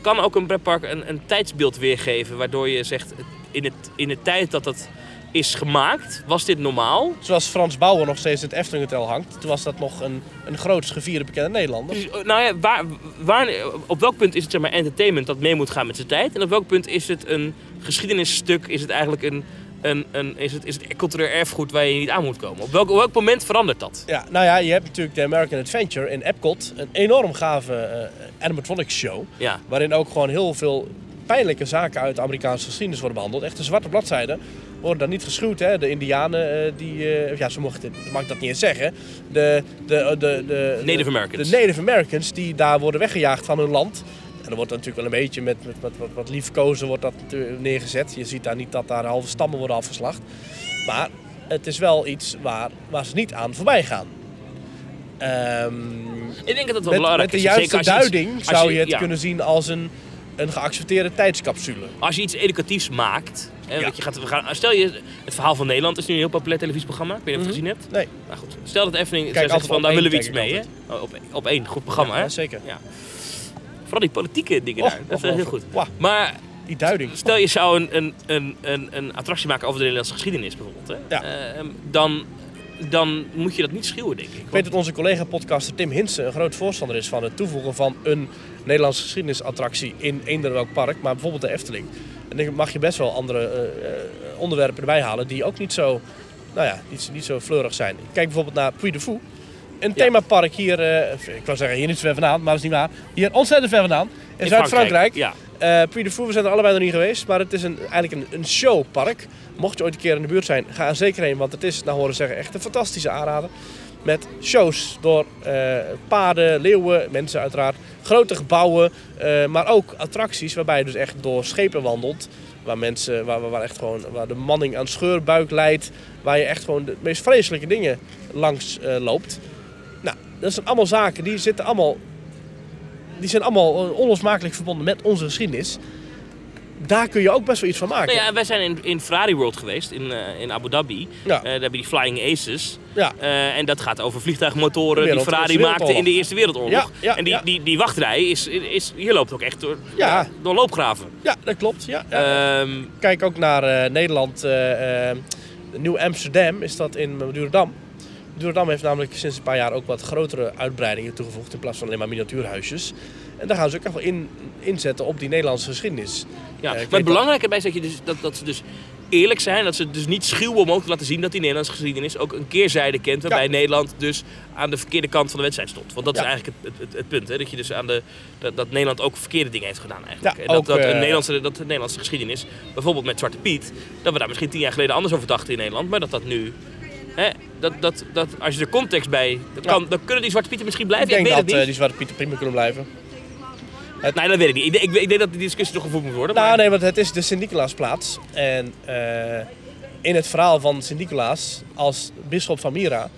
S3: kan ook een pretpark een, een tijdsbeeld weergeven waardoor je zegt... In, het, in de tijd dat dat is gemaakt, was dit normaal?
S2: Zoals Frans Bauer nog steeds in het Efteling Hotel hangt. Toen was dat nog een, een groots gevierde bekende Nederlander.
S3: Precies, nou ja, waar, waar, op welk punt is het zeg maar entertainment dat mee moet gaan met zijn tijd? En op welk punt is het een geschiedenisstuk? Is het eigenlijk een, een, een is het, is het cultureel erfgoed waar je niet aan moet komen? Op welk, op welk moment verandert dat?
S2: Ja, nou ja, je hebt natuurlijk de American Adventure in Epcot. Een enorm gave eh, animatronics show.
S3: Ja.
S2: Waarin ook gewoon heel veel pijnlijke zaken uit de Amerikaanse geschiedenis worden behandeld. Echt de zwarte bladzijden worden dan niet geschuwd. Hè? De indianen, eh, die, eh, ja, ze mochten, mag ik dat niet eens zeggen. De, de, de, de,
S3: Native Americans.
S2: De Native Americans die daar worden weggejaagd van hun land. En er wordt dan natuurlijk wel een beetje met, met, met wat, wat liefkozen wordt dat natuurlijk neergezet. Je ziet daar niet dat daar halve stammen worden afgeslacht. Maar het is wel iets waar, waar ze niet aan voorbij gaan. Ehm,
S3: Ik denk dat dat wel
S2: met, met
S3: belangrijk
S2: de
S3: is.
S2: juiste
S3: Zeker als je iets-
S2: duiding
S3: als
S2: zou je het
S3: ja,
S2: kunnen zien als een, een geaccepteerde tijdscapsule.
S3: Als je iets educatiefs maakt. Hè,
S2: Ja.
S3: want je gaat, we gaan, stel je, het verhaal van Nederland is nu een heel populair televisieprogramma. Ik weet niet of je het gezien hebt.
S2: Nee,
S3: Nou goed, stel dat Efteling
S2: Mhm.
S3: zou
S2: altijd
S3: zeggen van
S2: op
S3: daar
S2: één,
S3: willen we iets
S2: kijk ik
S3: mee. Hè? Oh, op, op één, goed programma.
S2: Ja,
S3: hè?
S2: Eh, zeker.
S3: Ja. Vooral die politieke dingen
S2: Och,
S3: daar. Dat is
S2: och,
S3: heel
S2: och.
S3: goed.
S2: Wauw.
S3: Maar
S2: die duiding.
S3: Stel je zou een, een, een, een, een attractie maken over de Nederlandse geschiedenis bijvoorbeeld. Hè?
S2: Ja.
S3: Ehm, dan, dan moet je dat niet schreeuwen, denk ik.
S2: Ik weet dat onze collega-podcaster Tim Hinsen een groot voorstander is van het toevoegen van een Nederlandse geschiedenisattractie in eender welk park, maar bijvoorbeeld de Efteling. En dan mag je best wel andere eh, eh, onderwerpen erbij halen die ook niet zo, nou ja, niet, niet zo fleurig zijn. Kijk bijvoorbeeld naar Puy de Fou. Een
S3: Ja.
S2: themapark hier, eh, ik wou zeggen hier niet zo ver vandaan, maar dat is niet waar. Hier ontzettend ver vandaan, in, Zuid-Frankrijk.
S3: Ja.
S2: Eh Puy de Fou, we zijn er allebei nog niet geweest, maar het is een, eigenlijk een, een showpark. Mocht je ooit een keer in de buurt zijn, ga er zeker heen, want het is, nou horen zeggen, echt een fantastische aanrader. Met shows door eh, paarden, leeuwen, mensen uiteraard, grote gebouwen, eh, maar ook attracties waarbij je dus echt door schepen wandelt. Waar mensen, waar, waar- waar echt gewoon, waar de manning aan scheurbuik leidt, waar je echt gewoon de meest vreselijke dingen langs eh, loopt. Nou, dat zijn allemaal zaken die zitten allemaal die zijn allemaal eh, onlosmakelijk verbonden met onze geschiedenis. Daar kun je ook best wel iets van maken.
S3: Nou ja, wij zijn in, in Ferrari World geweest, in, eh, in Abu Dhabi.
S2: Ja.
S3: Eh, daar hebben die Flying Aces.
S2: Ja.
S3: Eh, en dat gaat over
S2: De
S3: vliegtuigmotoren die
S2: Wereld-
S3: Ferrari
S2: Eerste
S3: maakte in de
S2: Wereldoorlog.
S3: Eerste Wereldoorlog.
S2: Ja, ja,
S3: en die,
S2: ja.
S3: die, die wachtrij is, is, hier loopt ook echt door,
S2: Ja.
S3: Eh, door loopgraven.
S2: Ja, dat klopt. Ja, ja.
S3: Ehm,
S2: Kijk ook naar eh, Nederland. eh, eh, Nieuw Amsterdam is dat in Madurodam. Madurodam heeft namelijk sinds een paar jaar ook wat grotere uitbreidingen toegevoegd in plaats van alleen maar miniatuurhuisjes. En daar gaan ze ook echt wel in, inzetten op die Nederlandse geschiedenis.
S3: Ja,
S2: Eh, ik weet
S3: maar het belangrijke erbij is dat, je dus, dat, dat ze dus
S5: eerlijk zijn. Dat ze het dus niet schuwen om ook te laten zien dat die Nederlandse geschiedenis ook een keerzijde kent. Waarbij
S2: Ja.
S5: Nederland dus aan de verkeerde kant van de wedstrijd stond. Want dat
S2: Ja.
S5: is eigenlijk het, het, het, het punt. Hè? Dat, je dus aan de, dat, dat Nederland ook verkeerde dingen heeft gedaan eigenlijk.
S2: Ja,
S5: En dat,
S2: ook,
S5: dat,
S2: eh,
S5: een Nederlandse, dat de Nederlandse geschiedenis, bijvoorbeeld met Zwarte Piet. Dat we daar misschien tien jaar geleden anders over dachten in Nederland. Maar dat dat nu... Hè, dat, dat, dat, als je er context bij... Dan, kan, dan kunnen die Zwarte Pieten misschien blijven.
S2: Ik
S5: Ik,
S2: denk dat
S5: weet het niet.
S2: eh, die Zwarte Pieter prima kunnen blijven.
S5: Nee, dat weet ik niet. Ik, denk- ik, ik denk dat die discussie nog gevoerd moet worden.
S2: Nou
S5: maar-
S2: nee, want het is de Sint-Nicolaasplaats. En eh, in het verhaal van Sint-Nicolaas als bisschop van Mira...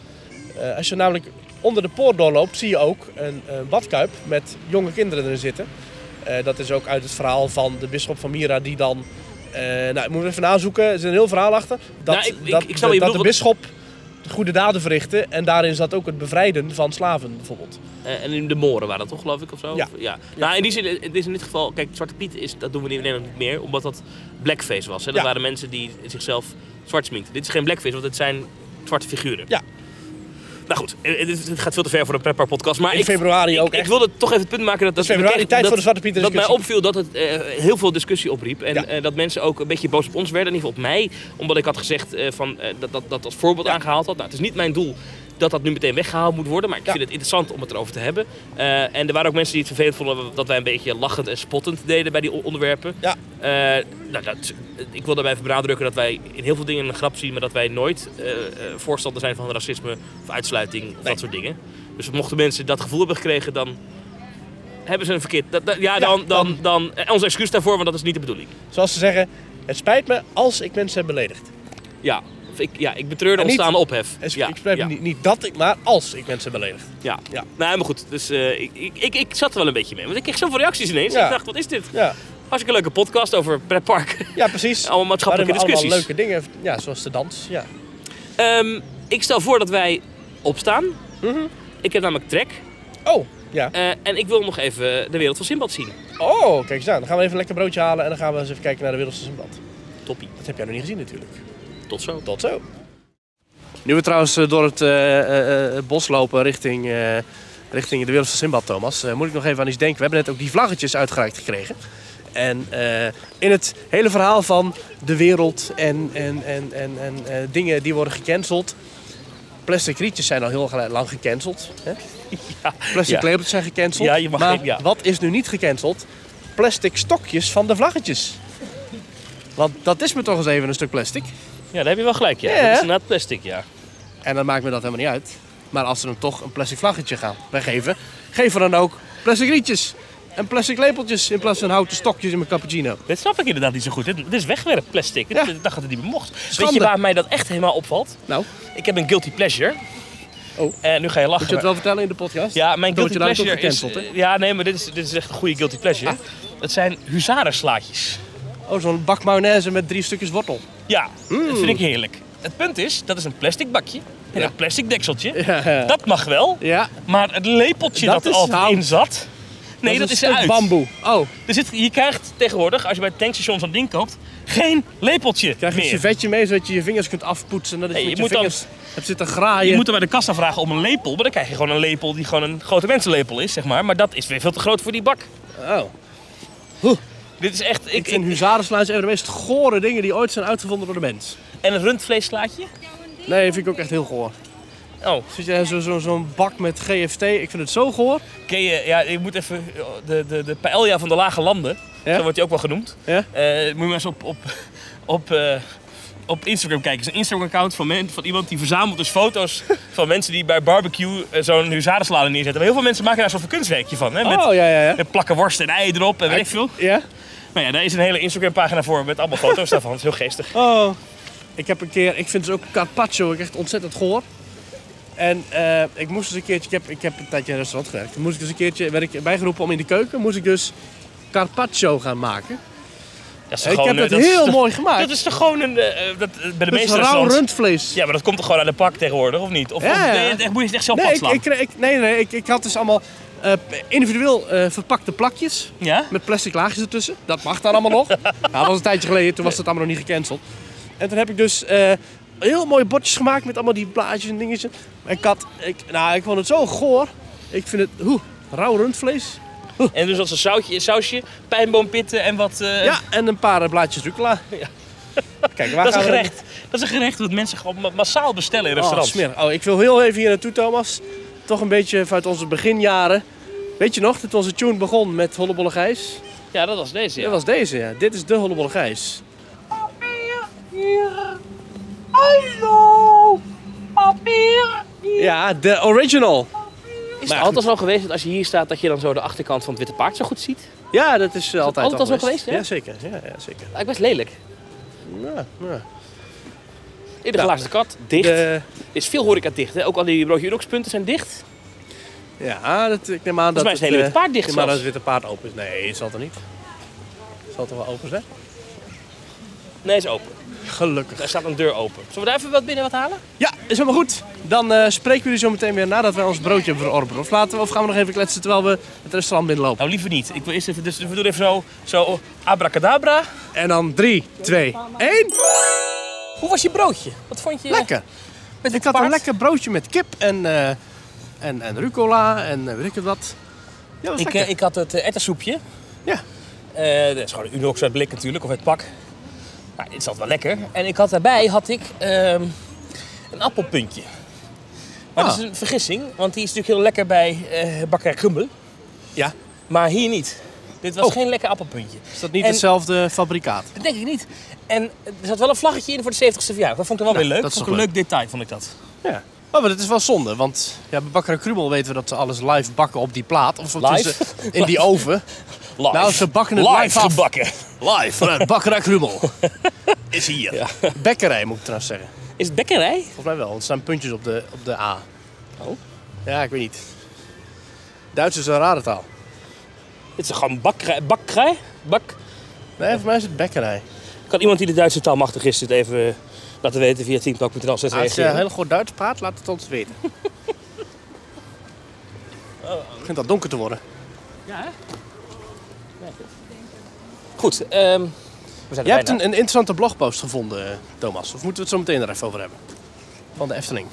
S2: eh, als je namelijk onder de poort doorloopt, zie je ook een, een badkuip met jonge kinderen erin zitten. Eh, dat is ook uit het verhaal van de bisschop van Mira die dan... eh, nou, ik moet even nazoeken, er zit een heel verhaal achter. Dat,
S5: Nou, ik- ik-
S2: dat,
S5: ik snap wat
S2: dat
S5: je
S2: de
S5: bedoelt,
S2: bisschop goede daden verrichtte. En daarin zat ook het bevrijden van slaven bijvoorbeeld.
S5: Eh, En in de Moren waren dat toch, geloof ik, of zo?
S2: Ja.
S5: Of- ja. Nou, in die zin, het is in dit geval... Kijk, Zwarte Piet, is, dat doen we in Nederland niet meer, omdat dat blackface was. Hè? Dat
S2: Ja.
S5: waren mensen die zichzelf zwart sminkten. Dit is geen blackface, want het zijn zwarte figuren.
S2: Ja.
S5: Nou goed, eh, eh, dit dit gaat veel te ver voor een prepper podcast. Maar
S2: In
S5: ik,
S2: februari
S5: ik,
S2: ook
S5: Ik
S2: echt.
S5: wilde toch even het punt maken dat... dat
S2: februari,
S5: dat-
S2: tijd
S5: dat-
S2: voor de Zwarte Pieten
S5: Dat mij
S2: discussie.
S5: opviel dat het eh, heel veel discussie opriep. En
S2: Ja.
S5: eh, dat mensen ook een beetje boos op ons werden. In ieder geval op mij. Omdat ik had gezegd eh, van, eh, dat, dat dat als voorbeeld aangehaald had. Nou, het is niet mijn doel dat dat nu meteen weggehaald moet worden. Maar ik
S2: Ja.
S5: vind het interessant om het erover te hebben. Eh, en er waren ook mensen die het vervelend vonden dat wij een beetje lachend en spottend deden bij die o- onderwerpen.
S2: Ja.
S5: Eh, nou, dat, ik wil daarbij even benadrukken dat wij in heel veel dingen een grap zien, maar dat wij nooit eh, eh, voorstander zijn van racisme of uitsluiting of dat soort dingen. Dus mochten mensen dat gevoel hebben gekregen, dan hebben ze een verkeerd. Dat, dat- ja, dan, dan, dan, eh, ons excuus daarvoor, want dat is niet de bedoeling.
S2: Zoals ze zeggen, het spijt me als ik mensen heb beledigd.
S5: Ja, Of ik, ja ik betreur de
S2: En niet-
S5: ontstaande ophef.
S2: Het
S5: ja,
S2: ik spijt me
S5: ja,
S2: niet, niet dat ik, maar als ik mensen heb beledigd.
S5: Ja.
S2: Ja.
S5: Nou, maar goed, dus eh, ik, ik, ik, ik zat er wel een beetje mee. Want ik kreeg zoveel reacties ineens.
S2: Ja.
S5: Ik dacht, wat is dit?
S2: Ja,
S5: Hartstikke leuke podcast over pretparken.
S2: ja precies.
S5: Allemaal maatschappelijke
S2: Waarin we
S5: discussies.
S2: Allemaal leuke dingen, ja, zoals de dans. Ja.
S5: (laughs) Ehm, ik stel voor dat wij opstaan.
S2: Mhm.
S5: Ik heb namelijk trek.
S2: Oh, ja.
S5: eh, en ik wil nog even de wereld van Simbad zien.
S2: Oh, kijk eens aan. Dan gaan we even lekker broodje halen en dan gaan we eens even kijken naar de wereld van Zimbabwe.
S5: Toppie.
S2: Dat heb jij nog niet gezien natuurlijk.
S5: Tot zo.
S2: Tot zo. Nu we trouwens eh, door het eh, eh, eh, bos lopen richting, eh, richting de wereld van Simbad, Thomas, eh, moet ik nog even aan iets denken. We hebben net ook die vlaggetjes uitgereikt gekregen. En eh, in het hele verhaal van de wereld en, en, en, en, en eh, dingen die worden gecanceld. Plastic rietjes zijn al heel gel- lang gecanceld. Hè? Plastic
S5: (laughs) ja.
S2: lepeltjes zijn gecanceld.
S5: Ja, je mag
S2: maar
S5: geen- ja.
S2: wat is nu niet gecanceld? Plastic stokjes van de vlaggetjes. Want dat is me toch eens even een stuk plastic.
S5: Ja, daar heb je wel gelijk. Ja.
S2: Ja, hè?
S5: Dat is inderdaad plastic, ja.
S2: En dan maakt me dat helemaal niet uit. Maar als ze hem toch een plastic vlaggetje gaan weggeven, geef er dan ook plastic rietjes. En plastic lepeltjes in plaats van houten stokjes in mijn cappuccino.
S5: Dit snap ik inderdaad niet zo goed. Dit, dit is wegwerp plastic.
S2: Ja.
S5: Ik dacht dat het niet meer mocht. Weet
S2: Schande.
S5: je waar mij dat echt helemaal opvalt?
S2: Nou,
S5: Ik heb een guilty pleasure.
S2: Oh.
S5: En nu ga
S2: moet
S5: je lachen.
S2: je
S5: maar-
S2: het wel vertellen in de podcast?
S5: Ja, mijn
S2: Doodje
S5: guilty
S2: Luid nou ook
S5: pleasure is...
S2: gecanceld, Ah.
S5: eh, ja, nee, maar dit is, dit is echt een goede guilty pleasure. Het zijn huzarenslaatjes.
S2: Oh, zo'n bak mayonaise met drie stukjes wortel.
S5: Ja, dat vind ik heerlijk. Het punt is, dat is een plastic bakje. En
S2: Ja.
S5: een plastic dekseltje.
S2: Ja.
S5: Dat mag wel.
S2: Ja.
S5: Maar het lepeltje
S2: Dat
S5: dat,
S2: is
S5: er altijd
S2: hout.
S5: in zat... Nee, dat,
S2: een
S5: is,
S2: stuk
S5: eruit.
S2: bamboe. Oh,
S5: Dus dit- je krijgt tegenwoordig, als je bij het tankstation zo'n ding koopt... geen lepeltje
S2: krijg je een
S5: meer.
S2: servetje mee zodat je je vingers kunt afpoetsen. Dat
S5: Nee,
S2: je,
S5: je
S2: met je
S5: moet dan-
S2: vingers hebt zitten graaien.
S5: Je moet er bij de kassa vragen om een lepel, maar dan krijg je gewoon een lepel die gewoon een grote mensenlepel is, zeg maar. Maar dat is weer veel te groot voor die bak.
S2: Oh.
S5: Dit is echt...
S2: Ik
S5: Ik,
S2: vind
S5: ik-
S2: huzarenslaatjes een van de meest gore dingen die ooit zijn uitgevonden door de mens.
S5: en een rundvleesslaatje?
S2: Nee, vind ik ook echt heel goor.
S5: Oh,
S2: Zit je zo'n zo, zo'n bak met GFT? Ik vind het zo goor.
S5: Ken je, ja, je moet even oh, de, de, de paella van de lage landen,
S2: Ja?
S5: zo wordt die ook wel genoemd.
S2: Ja?
S5: Eh, moet je maar eens op, op, op, eh, op Instagram kijken. Het is een Instagram-account van, men- van iemand die verzamelt dus
S2: (laughs)
S5: foto's van mensen die bij barbecue eh, zo'n huzarensalade neerzetten. Maar heel veel mensen maken daar zo'n kunstwerkje van, hè? Met,
S2: Oh, ja, ja, ja.
S5: met plakken worst en ei erop en weet ik veel.
S2: Ja?
S5: Nou ja, daar is een hele Instagram-pagina voor met allemaal foto's daarvan. Dat is heel geestig.
S2: Oh. Ik heb een keer, ik vind dus ook carpaccio ook echt ontzettend goor. En eh, ik moest dus een keertje, ik heb, ik heb een tijdje in een restaurant gewerkt. Toen moest ik dus een keertje, werd ik bijgeroepen om in de keuken, moest ik dus carpaccio gaan maken.
S5: Dat is
S2: En ik
S5: gewoon,
S2: heb
S5: eh,
S2: dat,
S5: is
S2: heel
S5: toch-
S2: mooi gemaakt.
S5: Dat is toch gewoon een... eh, eh, dat, eh, bij de
S2: Dus
S5: meeste
S2: rauw
S5: restaurants...
S2: rundvlees.
S5: Ja, maar dat komt toch gewoon aan de pak tegenwoordig, of niet? Of,
S2: Ja,
S5: of
S2: ja.
S5: ben je het echt, moet je het echt zelf
S2: nee, ik,
S5: padslaan?
S2: ik, kreeg- ik, nee, nee, ik, ik had dus allemaal eh, individueel eh, verpakte plakjes.
S5: Ja?
S2: Met plastic laagjes ertussen. Dat mag dan allemaal nog. Nou, dat was een tijdje geleden. Toen was dat allemaal nog niet gecanceld. En toen heb ik dus eh, heel mooie bordjes gemaakt met allemaal die blaadjes en dingetjes. En ik had, ik, nou, ik vond het zo goor. Ik vind het, hoe, rauw rundvlees.
S5: En dus als een sausje, sausje pijnboompitten en wat... eh,
S2: Ja, en een paar eh, blaadjes rucola. (laughs) Kijk, waar
S5: Dat is
S2: gaan
S5: een
S2: we
S5: gerecht. Dat is een gerecht wat mensen gewoon ma- massaal bestellen in
S2: Oh,
S5: restaurants.
S2: smerig. Oh, ik wil heel even hier naartoe, Thomas. Toch een beetje vanuit onze beginjaren. Weet je nog dat onze tune begon met Hollebolle Gijs?
S5: ja, dat was deze. Ja.
S2: Dat was deze, ja. Dit is de Hollebolle Gijs.
S8: Hallo, papier.
S2: Ja, de original.
S5: Is
S2: Maar
S5: het altijd zo geweest dat als je hier staat, dat je dan zo de achterkant van het Witte Paard zo goed ziet?
S2: Ja, dat is, eh, altijd
S5: altijd al zo geweest, ja?
S2: ja? zeker. Ja, ja, zeker.
S5: Eigenlijk Nou, best lelijk.
S2: Ja, ja. Nou,
S5: In de glazen kat, dicht.
S2: De,
S5: Is veel horeca dicht, hè? Ook al die broodje Unox-punten zijn dicht.
S2: ja dat, ik neem aan dat
S5: mij is het hele
S2: eh,
S5: Witte Paard dicht
S2: ik neem aan dat
S5: zelfs.
S2: het witte paard open is. Nee, het zal toch niet? Zal het toch wel open zijn?
S5: Nee, is open.
S2: Gelukkig.
S5: Er staat een deur open. Zullen we daar even wat binnen wat halen?
S2: Ja, is helemaal goed. Dan eh, spreken we jullie zo meteen weer nadat wij ons broodje hebben verorberd. Of, laten we, of gaan we nog even kletsen terwijl we het restaurant binnenlopen?
S5: Nou, liever niet. Ik wil eerst even, dus we doen even zo, zo abracadabra.
S2: En dan 3, 2, 1.
S5: Hoe was je broodje? Wat vond je?
S2: Lekker. ik had een
S5: paard?
S2: lekker broodje met kip en, eh, en, en rucola en eh, weet ik het wat. Ja, dat was
S5: Ik,
S2: lekker.
S5: eh, ik had het eh, erwtensoepje.
S2: Ja.
S5: Eh, dat is gewoon een Unox uit blik natuurlijk, of uit pak. Nou, dit zat wel lekker. En ik had daarbij had ik, ehm, een appelpuntje. Maar
S2: Ah.
S5: dat is een vergissing, want die is natuurlijk heel lekker bij eh bakkerij Gumbel.
S2: Ja.
S5: Maar hier niet. Dit was
S2: Oh.
S5: geen lekker appelpuntje.
S2: Is dat niet
S5: en-
S2: hetzelfde fabrikaat?
S5: Dat denk ik niet. En er zat wel een vlaggetje in voor de 70ste verjaardag. Dat vond ik wel
S2: Nou,
S5: weer leuk.
S2: dat is
S5: vond ik
S2: toch
S5: een leuk detail, vond ik dat.
S2: Ja. Oh, maar dat is wel zonde, want ja, bij Bakker en Krumel weten we dat ze alles live bakken op die plaat. Of
S5: Live?
S2: tussen- in die oven.
S5: Live.
S2: Nou, ze bakken het live af.
S5: gebakken.
S2: Live vanuit Bakker en (laughs) Krumel.
S9: Is hier.
S2: Bekkerij moet ik trouwens zeggen.
S5: Is het bekkerij?
S2: Volgens mij wel, want er staan puntjes op de, op de A.
S5: Oh.
S2: Ja, ik weet niet. Duits is een rare taal.
S5: Dit is gewoon bakkerij. Bakkerij? Bak.
S2: Nee, voor mij is het bekkerij.
S5: Kan iemand die de Duitse taal machtig is dit even eh, laten weten via teamtalk.nl? Zet
S2: Ah, Als je
S5: reageren.
S2: heel goed Duits praat, laat het ons
S5: (laughs)
S2: weten. Het begint al donker te worden.
S5: Goed, ehm, we zijn er
S2: Jij hebt
S5: bijna.
S2: een, een interessante blogpost gevonden, eh, Thomas. Of moeten we het zo meteen er even over hebben? Van de Efteling.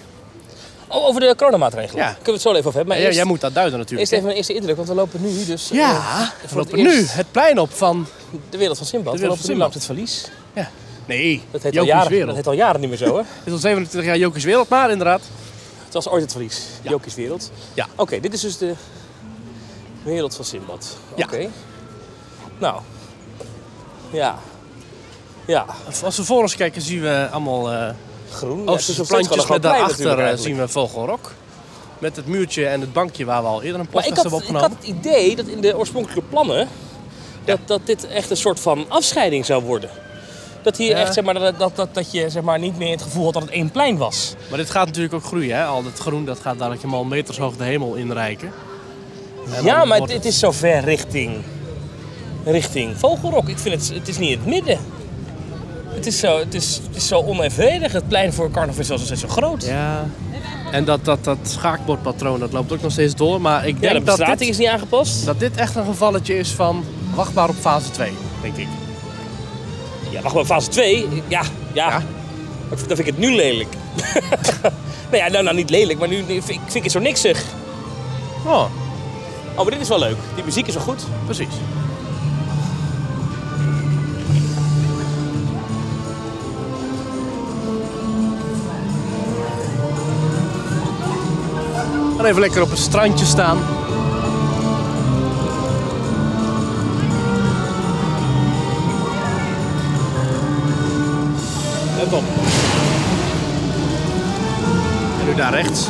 S5: Oh, over de coronamaatregelen.
S2: Ja.
S5: Kunnen we het zo even over hebben. Maar
S2: Ja,
S5: eerst,
S2: jij moet dat duiden natuurlijk.
S5: eerst even mijn eerste indruk, want we lopen nu dus...
S2: hè?
S5: eh,
S2: ja, we
S5: voor het
S2: lopen nu
S5: eerst
S2: het plein op van...
S5: de wereld van Simbad.
S2: De wereld
S5: We
S2: van
S5: lopen
S2: Sinbad.
S5: nu langs het verlies.
S2: Ja. Nee,
S5: Dat heet, al
S2: Jokies
S5: jaren, dat
S2: Wereld.
S5: heet al jaren niet meer zo, hè?
S2: Het is al 27 jaar Jokies Wereld, maar inderdaad.
S5: Het was ooit het verlies. Jokies wereld.
S2: Ja.
S5: Oké, dit is dus de wereld van Simbad.
S2: Ja.
S5: Oké. Nou. Ja. Ja.
S2: Als we voor ons kijken zien we allemaal eh
S5: Groen.
S2: oosterse plantjes. Met daarachter eh, zien we Vogelrok. Met het muurtje en het bankje waar we al eerder een
S5: Maar ik
S2: podcast
S5: had,
S2: hebben
S5: ik
S2: opgenomen.
S5: had het idee dat in de oorspronkelijke plannen... Dat, dat dit echt een soort van afscheiding zou worden. Dat hier
S2: Ja.
S5: echt, zeg maar, dat, dat, dat, dat je zeg maar, niet meer het gevoel had dat het één plein was.
S2: Maar dit gaat natuurlijk ook groeien, hè? Al dat groen dat gaat dadelijk helemaal meters hoog de hemel inreiken. En
S5: ja,
S2: dan
S5: maar
S2: wordt
S5: dit is zover richting, richting Vogelrok. Ik vind het, het is niet in het midden. Het is zo, het is, het is zo onevenredig. Het plein voor carnaval is al zo- zo groot. Ja,
S2: Ja. En dat, dat, dat schaakbordpatroon, dat loopt ook nog steeds door. Maar ik denk
S5: de
S2: dat,
S5: bestrating
S2: dit,
S5: is niet aangepast.
S2: dat dit echt een gevalletje is van wacht maar op fase 2, denk ik.
S5: Ja, wacht maar, fase 2. Ja, ja.
S2: Ja.
S5: Dat vind dat vind ik het nu lelijk. (laughs) nou ja, nou, nou niet lelijk, maar nu nu vind ik, vind ik het zo niksig.
S2: Oh,
S5: Oh, maar dit is wel leuk. Die muziek is wel goed.
S2: precies. Gaan even lekker op een strandje staan.
S5: Let op.
S2: En nu daar rechts.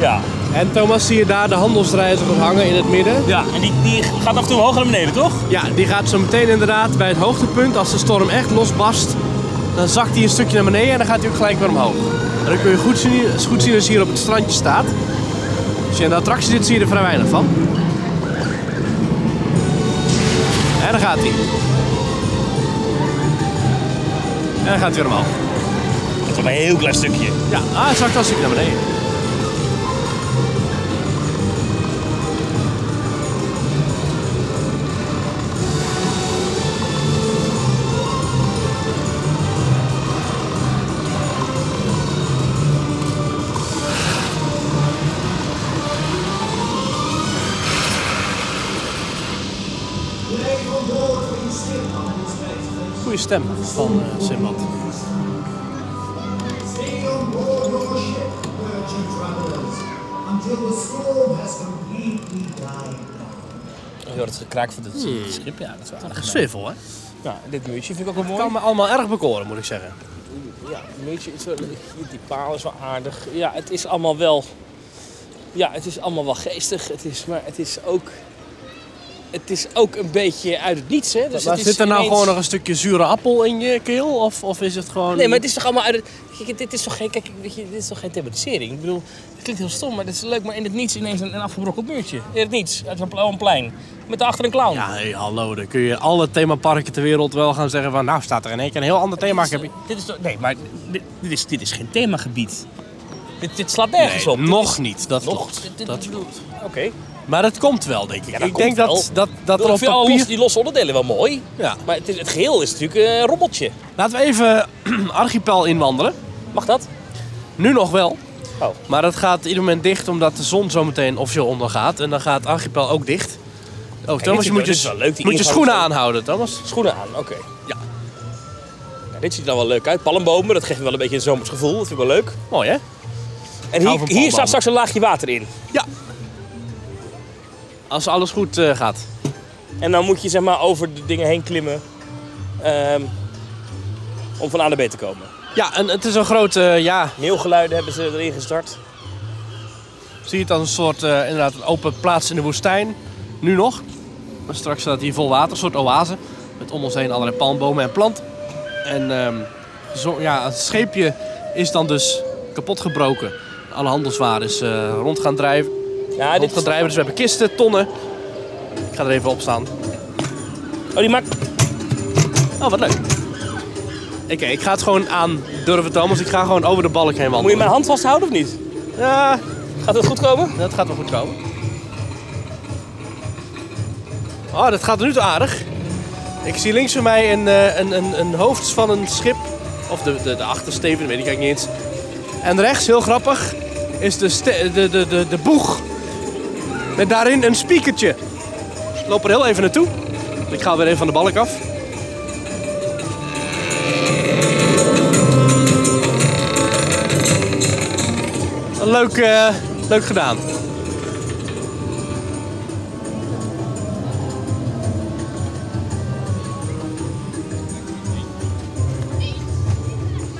S5: Ja.
S2: En Thomas, zie je daar de handelsreiziger hangen in het midden?
S5: ja. En die, die gaat af en toe hoger naar beneden, toch?
S2: Ja, die gaat zo meteen inderdaad bij het hoogtepunt. Als de storm echt losbarst, dan zakt hij een stukje naar beneden en dan gaat hij ook gelijk weer omhoog. En dan kun je goed zien, goed zien als je hier op het strandje staat. Als je in de attractie zit, zie je er vrij weinig van. En dan gaat hij. En dan gaat hij weer omhoog.
S5: Dat is maar een heel klein stukje.
S2: Ja, ah, hij zakt al een stukje naar beneden. stem van eh Simbad.
S10: Stay on board your ship, merchant travelers, until the storm has completely died down.
S5: Heel het gekraak van het
S2: Hmm.
S5: schip, ja, dat is wel aardig.
S2: Swivel, hè?
S5: Ja, dit muurtje vind ik ook wel mooi.
S2: Kan me allemaal erg bekoren, moet ik zeggen.
S5: Ja, een beetje, het is wel- die paal is wel aardig. Ja, het is allemaal wel... Ja, het is allemaal wel geestig. Het is, maar het is ook... Het is ook een beetje uit het niets, hè? Dus
S2: Maar
S5: het is
S2: zit er nou
S5: ineens-
S2: gewoon nog een stukje zure appel in je keel? Of, of is het gewoon...
S5: Nee, maar het is toch allemaal uit het... Kijk, dit is toch geen, kijk, weet je, dit is toch geen thematisering? Ik bedoel, het klinkt heel stom, maar het is leuk. Maar in het niets ineens een, een afgebrokkeld muurtje. In het niets, uit een pla- een plein. Met daarachter een clown.
S2: Ja, hey, hallo, dan kun je alle themaparken ter wereld wel gaan zeggen van... Nou, staat er in één keer een heel ander thema.
S5: Dit is, dit is toch- nee, maar dit, dit is, dit is geen themagebied. Dit, dit slaat nergens op. Dit
S2: nog
S5: is-
S2: niet, dat
S5: Nog?
S2: klopt.
S5: Dit- dit-
S2: Dat
S5: dit-
S2: klopt.
S5: Oké.
S2: Maar dat komt wel, denk ik.
S5: dat
S2: ik denk
S5: komt
S2: dat,
S5: wel.
S2: dat, dat
S5: Ik
S2: er op
S5: vind alle los,
S2: papier...
S5: die losse onderdelen wel mooi.
S2: Ja.
S5: Maar het, is- het geheel is natuurlijk eh, een rommeltje.
S2: Laten we even (clears throat) Archipel inwandelen.
S5: Mag dat?
S2: Nu nog wel.
S5: Oh.
S2: Maar dat gaat ieder moment dicht omdat de zon zo meteen officieel ondergaat. En dan gaat Archipel ook dicht. Oh, Thomas,
S5: dit
S2: je
S5: is
S2: moet
S5: wel-
S2: je,
S5: dit is wel leuk, die
S2: moet je
S5: ingang
S2: schoenen
S5: van-
S2: aanhouden, Thomas.
S5: Schoenen aan, oké.
S2: Ja.
S5: Nou, dit ziet er dan wel leuk uit. Palmbomen, dat geeft wel een beetje een zomers gevoel. Dat vind ik wel leuk.
S2: Mooi, hè?
S5: En
S2: hou
S5: hier,
S2: van
S5: hier
S2: palmbomen.
S5: staat straks een laagje water in.
S2: Ja. Als alles goed eh, gaat.
S5: En dan moet je zeg maar over de dingen heen klimmen. ehm, om van A naar B te komen.
S2: Ja, en het is een grote, eh, ja,
S5: Meelgeluiden hebben ze erin gestart.
S2: zie je het als een soort, eh, inderdaad, een open plaats in de woestijn. Nu nog. Maar straks staat hier vol water, een soort oase. Met om ons heen allerlei palmbomen en planten. En ehm, zo, ja, het scheepje is dan dus kapotgebroken. Alle handelswaren is eh, rond gaan drijven.
S5: Ja,
S2: rond
S5: dit
S2: gaan
S5: is...
S2: drijven. Dus we hebben kisten, tonnen. Ik ga er even op staan.
S5: Oh, die maakt...
S2: Oh, wat leuk. Oké, ik ga het gewoon aan durven, Thomas. Ik ga gewoon over de balk heen
S5: Moet je
S2: wandelen.
S5: mijn hand vasthouden of niet?
S2: Ja,
S5: Gaat dat goed komen?
S2: dat gaat wel goed komen. Oh, dat gaat nu te aardig. Ik zie links van mij een, eh, een, een, een hoofd van een schip. Of de, de, de achtersteven, weet ik eigenlijk niet eens. En rechts, heel grappig, is de, ste- de, de, de, de boeg. Met daarin een spiekertje. Dus Ik loop er heel even naartoe. Ik ga weer even van de balk af. Leuk, eh, leuk gedaan.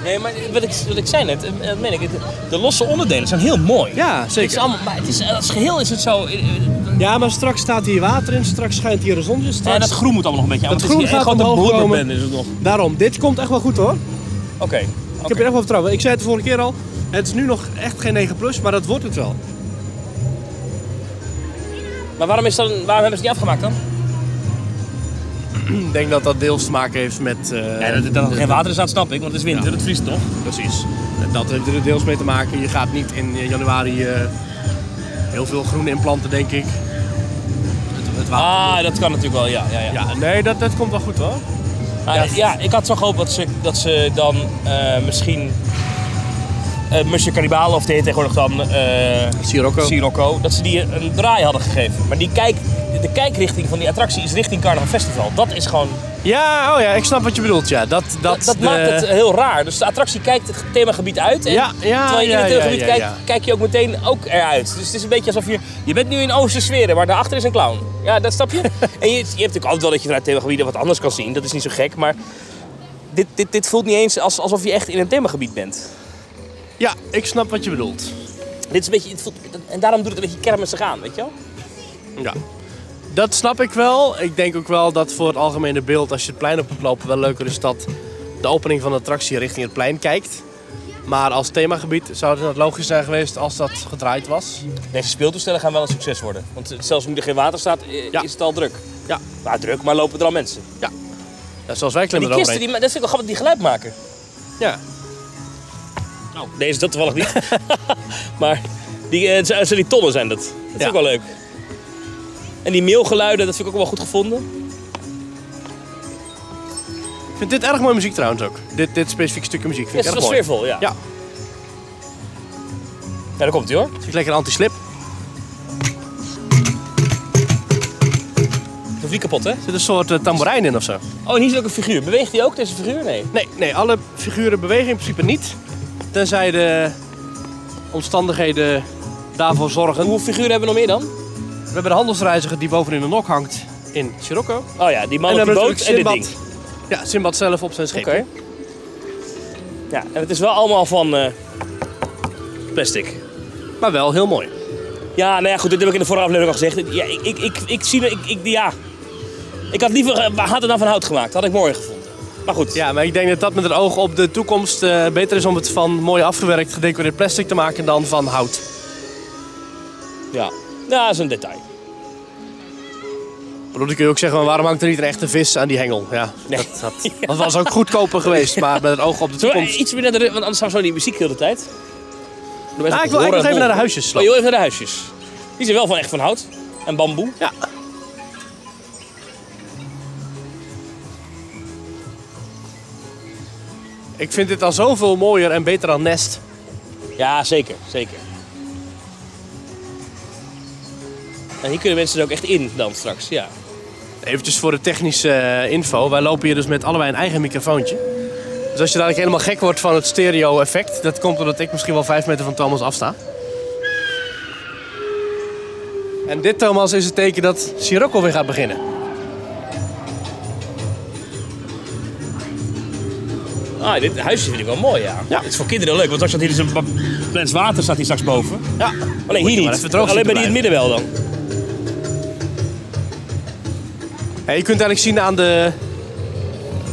S5: Nee, maar wat ik, wat ik zei net, eh, dat meen ik. het- De losse onderdelen zijn heel mooi.
S2: Ja,
S5: Het is
S2: zeker.
S5: allemaal, maar het is, als geheel is het zo... eh, eh,
S2: Ja, maar straks staat hier water in, straks schijnt hier de zon. Dus
S5: Ja,
S2: straks...
S5: dat groen moet allemaal nog een beetje aan.
S2: Dat
S5: want het
S2: groen
S5: is
S2: gaat
S5: hier een grote
S2: omhoog
S5: blubber
S2: komen.
S5: ben, is het nog.
S2: Daarom, dit komt echt wel goed hoor.
S5: Oké.
S2: Ik heb er echt wel vertrouwen. in. Ik zei het de vorige keer al, het is nu nog echt geen 9 plus, maar dat wordt het wel.
S5: Maar waarom, is dan, waarom hebben ze het niet afgemaakt dan?
S2: Ik denk dat dat deels te maken heeft met... eh,
S5: geen water is aan, snap ik, want het is winter, het vriest toch?
S2: Precies. Dat heeft er deels mee te maken. Je gaat niet in eh, januari eh, heel veel groen implanten, denk ik. Het, het water.
S5: Ah, dat kan natuurlijk wel, ja. ja, ja.
S2: Ja, nee, dat, dat komt wel goed hoor.
S5: Maar, eh, ja, ik had zo gehoopt dat ze, dat ze dan eh, misschien... eh Musje Cannibale, of de heet tegenwoordig dan... eh,
S2: Sirocco.
S5: Sirocco. Dat ze die een draai hadden gegeven. Maar die kijk, de kijkrichting van die attractie is richting Carnaval Festival. Dat is gewoon...
S2: Ja, oh ja, ik snap wat je bedoelt. Ja, dat, eh, dat,
S5: Dat, dat
S2: de-
S5: maakt het heel raar. Dus de attractie kijkt het themagebied uit. En
S2: Ja, ja,
S5: terwijl je
S2: ja,
S5: in het
S2: ja,
S5: themagebied
S2: ja,
S5: kijkt,
S2: ja.
S5: kijk je ook meteen ook eruit. Dus het is een beetje alsof je... Je bent nu in Oosterse sferen, maar daarachter is een clown. Ja, dat
S2: (laughs)
S5: snap je. en je, je hebt natuurlijk altijd wel dat je vanuit themagebieden wat anders kan zien. Dat is niet zo gek, maar... Dit, dit, dit voelt niet eens als, alsof je echt in een themagebied bent.
S2: Ja, ik snap wat je bedoelt.
S5: Dit is een beetje, het voelt, en daarom doet het een beetje kermissig aan, weet je wel?
S2: Ja. Dat snap ik wel. Ik denk ook wel dat voor het algemene beeld, als je het plein op moet lopen, wel leuker is dat de opening van de attractie richting het plein kijkt. Maar als themagebied zou het logisch zijn geweest als dat gedraaid was.
S5: Deze speeltoestellen gaan wel een succes worden. Want zelfs nu er geen water staat, eh,
S2: Ja.
S5: is het al druk.
S2: Ja.
S5: Nou, druk, maar lopen er al mensen.
S2: Ja, zoals wij
S5: Die
S2: klimmen
S5: kisten,
S2: eroverheen.
S5: die, ma- dat vind ik wel grappig, die geluid maken.
S2: Ja.
S5: Nou, deze dat toevallig niet. (laughs) maar die, eh, het zijn, het zijn die tonnen zijn dat. Dat vind
S2: Ja.
S5: ik wel leuk. En die meelgeluiden, dat vind ik ook wel goed gevonden.
S2: Ik vind dit erg mooie muziek trouwens ook. Dit, dit specifieke stukje muziek
S5: Het
S2: vind
S5: is
S2: ik
S5: wel
S2: erg mooi.
S5: sfeervol, ja.
S2: Ja.
S5: Ja, daar komt hij hoor.
S2: Het is lekker anti-slip.
S5: Dan hoef je wie kapot, hè?
S2: Er zit een soort eh, tamboerijn in of zo.
S5: Oh, en hier is ook een figuur. Beweegt die ook, deze figuur? Nee.
S2: Nee, nee, alle figuren bewegen in principe niet. Tenzij de omstandigheden daarvoor zorgen.
S5: Hoeveel figuren hebben we nog meer dan?
S2: We hebben de handelsreiziger die bovenin de nok hangt in Sirocco.
S5: Oh ja, die man
S2: dan
S5: op
S2: hebben
S5: die
S2: we
S5: boot en dit
S2: natuurlijk
S5: ding.
S2: Sinbad. Ja, Simbad zelf op zijn schip.
S5: Oké. Ja, en het is wel allemaal van eh, plastic.
S2: Maar wel heel mooi.
S5: Ja, nou ja, goed, dit heb ik in de vorige aflevering al gezegd. Ja, ik, ik, ik, ik zie... Ik, ik, ja. Ik had liever... eh, Had het dan van hout gemaakt. Had ik mooier gevonden. Maar goed.
S2: Ja, maar ik denk dat dat met het oog op de toekomst eh, beter is om het van mooi afgewerkt gedecoreerd plastic te maken dan van hout.
S5: Ja, ja dat is een detail.
S2: Ik bedoel, dan kun je ook zeggen, maar waarom hangt er niet een echte vis aan die hengel? (laughs) Ja,
S5: Nee.
S2: dat, dat, dat was ook goedkoper geweest, maar met het oog op de
S5: Zullen we
S2: toekomst.
S5: iets meer naar de... Want anders staan we zo in die muziek heel de tijd. Doe
S2: Ja,
S5: eens
S2: Nou, ik wil eigenlijk nog
S5: horen.
S2: even naar de huisjes.
S5: Oh,
S2: Sloop.
S5: je wil even naar de huisjes. Die zijn wel van echt van hout. En bamboe.
S2: Ja. Ik vind dit al zoveel mooier en beter dan Nest.
S5: Ja, zeker. Zeker. En hier kunnen mensen er ook echt in dan straks. Ja.
S2: Eventjes voor de technische eh, info. Wij lopen hier dus met allebei een eigen microfoontje. Dus als je dadelijk helemaal gek wordt van het stereo-effect... dat komt omdat ik misschien wel vijf meter van Thomas afsta. En dit, Thomas, is het teken dat Sirocco weer gaat beginnen.
S5: Ah, dit huisje vind ik wel mooi, ja.
S2: Ja.
S5: Het is voor kinderen leuk, want als dat hier is een ba- plens water staat hier straks boven.
S2: Ja.
S5: Alleen hier
S2: maar
S5: niet.
S2: even droog
S5: Alleen bij die in
S2: zitten
S5: het midden wel dan.
S2: Ja, je kunt eigenlijk zien aan, de,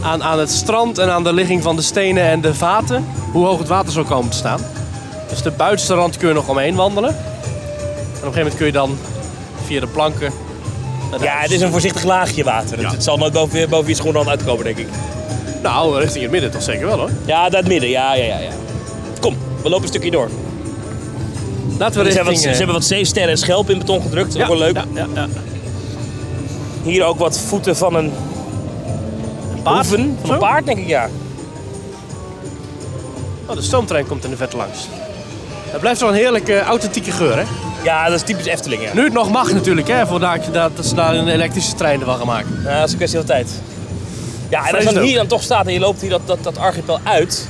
S2: aan, aan het strand en aan de ligging van de stenen en de vaten hoe hoog het water zou komen te staan. Dus de buitenste rand kun je nog omheen wandelen. En op een gegeven moment kun je dan via de planken. naar de
S5: Ja,
S2: huis.
S5: het is een voorzichtig laagje water. Het, het zal nooit boven, boven je schoenen uitkomen, denk ik.
S2: Nou, richting het midden toch zeker wel hoor.
S5: Ja, dat midden. Ja, ja, ja, ja. Kom, we lopen een stukje door.
S2: Laten we
S5: Ze hebben,
S2: richting.
S5: wat, ze
S2: eh,
S5: hebben wat zeesterren en schelpen in beton gedrukt.
S2: ja,
S5: ook wel leuk.
S2: Ja, ja, ja.
S5: Hier ook wat voeten van een
S2: Paard.
S5: hoeven. Van een
S2: Zo.
S5: paard, denk ik, ja.
S2: Oh, de stoomtrein komt in de verte langs. Het blijft wel een heerlijke eh, authentieke geur hè.
S5: Ja, dat is typisch Efteling, ja.
S2: Nu het nog mag natuurlijk hè, voordat dat, dat ze daar een elektrische trein ervan gaan maken.
S5: Ja, Eh, dat is een kwestie van tijd. Ja, en als je
S2: Vreselijk.
S5: dan hier dan toch staat en je loopt hier dat, dat, dat archipel uit...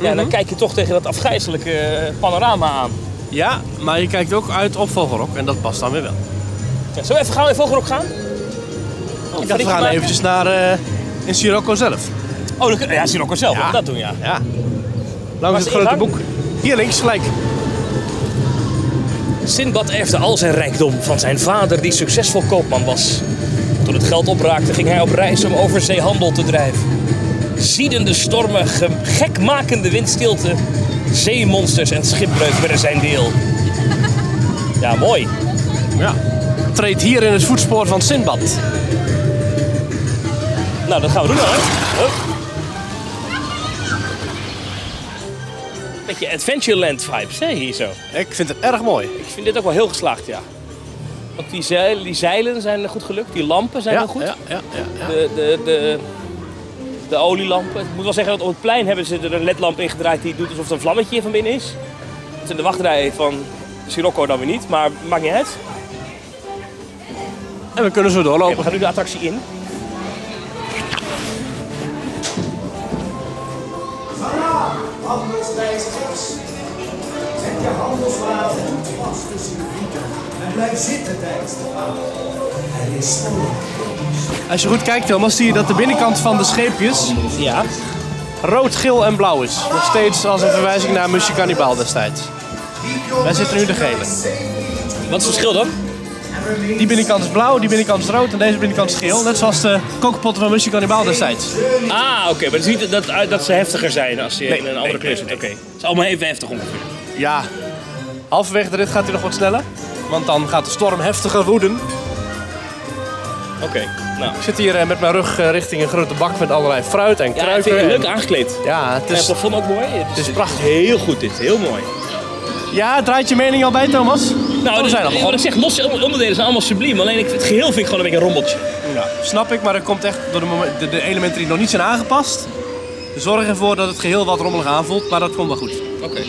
S5: Ja,
S2: Mhm.
S5: dan kijk je toch tegen dat afgrijzelijke eh, panorama aan.
S2: Ja, maar je kijkt ook uit op Vogelrok en dat past dan weer wel.
S5: Ja, zullen we even gaan, even Vogelrok gaan?
S2: Ik dacht,
S5: ga die
S2: Oh, we gaan
S5: maken.
S2: eventjes naar eh, in Sirocco zelf.
S5: Oh, dan kun- ja, Sirocco zelf, laten we dat doen, ja.
S2: Ja.
S5: Waar
S2: Langs
S5: is
S2: het
S5: de
S2: grote
S5: ingang?
S2: boek. Hier links gelijk.
S5: Sinbad erfde al zijn rijkdom van zijn vader, die succesvol koopman was. Toen het geld opraakte, ging hij op reis om over zee handel te drijven. Ziedende stormen, ge- gekmakende windstilte, zeemonsters en schipbreuk werden zijn deel. Ja, mooi.
S2: Ja. Treedt hier in het voetspoor van Sinbad.
S5: Nou, dat gaan we doen dan, hè? Hup. Beetje Adventureland vibes, hè, hier zo.
S2: Ik vind het erg mooi.
S5: Ik vind dit ook wel heel geslaagd, ja. Want die zeilen, die zeilen zijn goed gelukt, die lampen zijn
S2: ja,
S5: wel goed.
S2: Ja, ja, ja, ja.
S5: De, de, de, de olielampen. Ik moet wel zeggen dat op het plein hebben ze er een ledlamp in gedraaid die doet alsof er een vlammetje van binnen is. Dat is in de wachtrij van Sirocco dan weer niet, maar maakt niet uit.
S2: En we kunnen zo
S5: Oké, we
S2: doorlopen.
S5: gaan nu de attractie in.
S10: Vanaf handelsreis tips. Zet je handelswaar goed vast tussen je voeten en blijf zitten tijdens de vaart. Er is spoor.
S2: Als je goed kijkt, Thomas, zie je dat de binnenkant van de scheepjes
S5: Ja.
S2: rood, geel en blauw is. Nog steeds als een verwijzing naar Musje Cannibal destijds. Wij zitten nu de gele.
S5: Wat is het verschil dan?
S2: Die binnenkant is blauw, die binnenkant is rood en deze binnenkant is geel. Net zoals de kookpotten van Musje Cannibal destijds.
S5: Ah, oké, maar het is niet dat, dat ze heftiger zijn als je
S2: Nee,
S5: in een andere
S2: nee,
S5: kleur zit. Oké. Het is allemaal even heftig ongeveer.
S2: Ja, halverwege de rit gaat hij nog wat sneller. Want dan gaat de storm heftiger woeden.
S5: Oké. Nou.
S2: Ik zit hier eh, met mijn rug eh, richting een grote bak met allerlei fruit en
S5: Ja, ik
S2: kruiden.
S5: vind het leuk
S2: en-
S5: aangekleed.
S2: Ja, het
S5: En het
S2: is,
S5: plafond ook mooi. Het Nou,
S2: het is prachtig.
S5: heel goed dit, heel mooi.
S2: Ja, draait je mening al bij, Thomas?
S5: Nou,
S2: we zijn al
S5: dit- wat ik
S2: begonnen.
S5: zeg, losse onderdelen zijn allemaal subliem. Alleen ik, het geheel vind ik gewoon een beetje een rommeltje.
S2: Ja, snap ik, maar dat komt echt door de, momen- de, de elementen die nog niet zijn aangepast. Zorg ervoor dat het geheel wat rommelig aanvoelt, maar dat komt wel goed.
S5: Oké.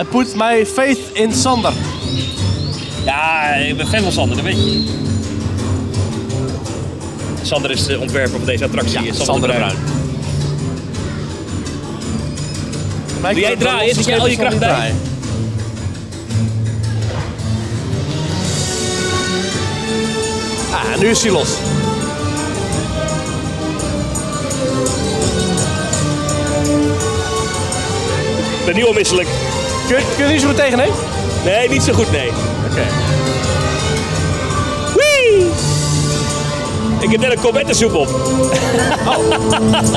S2: I put my faith in Sander.
S5: Ja, ik ben fan van Sander, dat weet je. Sander is de ontwerper van deze attractie.
S3: Ja,
S5: Sander,
S3: Sander
S5: de Bruin.
S3: Bruin.
S2: Doe
S5: jij draaien? Zet jij al je kracht bij?
S2: Ah, nu is hij los.
S5: Ik ben nu al misselijk.
S2: Kun, kun je er niet zo goed tegen, hè? Oké.
S5: Nee, niet zo goed, nee. Wee! Ik heb net een komettensoep op.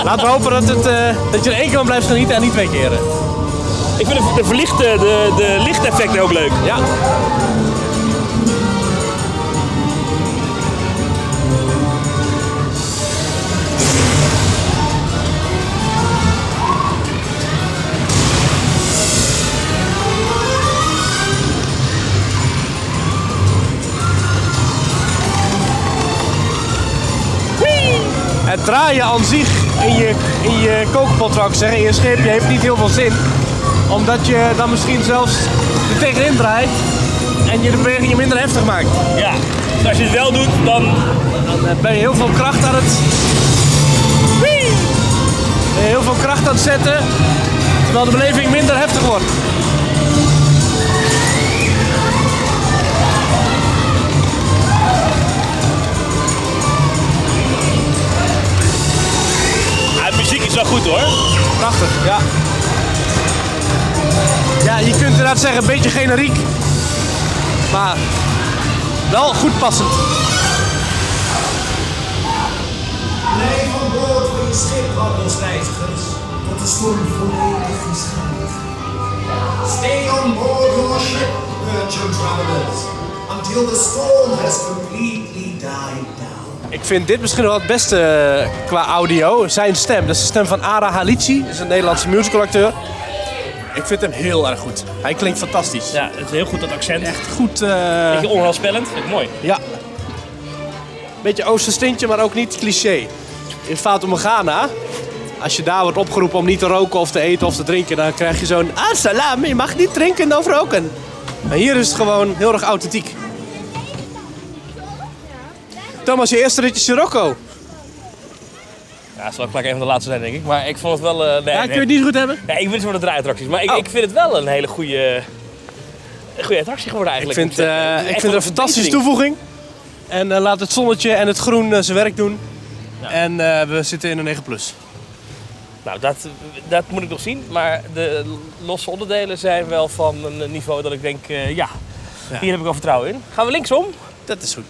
S2: Laten we hopen dat, het, eh, dat je er één keer van blijft genieten en niet twee keren.
S5: Ik vind de, de verlichte, de, de lichteffecten ook leuk.
S2: Ja. Het draaien aan zich in je, in je kookpot zou ik zeggen, in je scheepje heeft niet heel veel zin. Omdat je dan misschien zelfs er tegenin draait en je de bewegingen minder heftig maakt.
S5: Ja. Dus als je het wel doet, dan...
S2: Dan eh, ben je heel veel kracht aan het... Wee! Ben je Heel veel kracht aan het zetten, terwijl de beleving minder heftig wordt.
S5: Ja, de muziek is wel goed hoor.
S2: Prachtig, ja. Ja, je kunt inderdaad zeggen, een beetje generiek. Maar wel goed passend.
S10: Blijf van boord voor je schip, wandelsreizigers. Dat de storm volledig is geëindigd. Stay on board your ship, merchant travelers, until the storm has completely died down.
S2: Ik vind dit misschien wel het beste eh, qua audio. Zijn stem. Dat is de stem van Ara Halici. Dat is een Nederlandse musicalacteur. Ik vind hem heel erg goed. Hij klinkt fantastisch.
S5: Ja, het is heel goed dat accent. Echt
S2: Goed, eh,
S5: beetje onheilspellend. Vind ik mooi.
S2: ja. Beetje oosterstintje, maar ook niet cliché. In Fata Morgana, als je daar wordt opgeroepen om niet te roken of te eten of te drinken, dan krijg je zo'n ah salam, je mag niet drinken of roken. Maar hier is het gewoon heel erg authentiek. Thomas, je eerste ritje Sirocco.
S5: Ja, dat zal ook gelijk een van de laatste zijn denk ik. Maar ik vond het wel... eh, nee,
S2: Ja,
S5: nee.
S2: kun je het niet goed hebben?
S5: Ja, ik ben niet voor de draaiattracties. Maar ik,
S2: Oh.
S5: ik vind het wel een hele goede... Een goede attractie geworden
S2: Ik
S5: eigenlijk.
S2: vind,
S5: moet zeggen.
S2: eh,
S5: Echt
S2: ik vind
S5: wel
S2: het een fantastische toevoeging.
S5: verbetering.
S2: En eh, laat het zonnetje en het groen eh, zijn werk doen. En eh, we zitten in een 9 plus.
S5: Nou, dat, dat moet ik nog zien. Maar de losse onderdelen zijn wel van een niveau dat ik denk, eh, ja, hier heb ik wel vertrouwen in. Gaan we linksom?
S2: Dat is goed.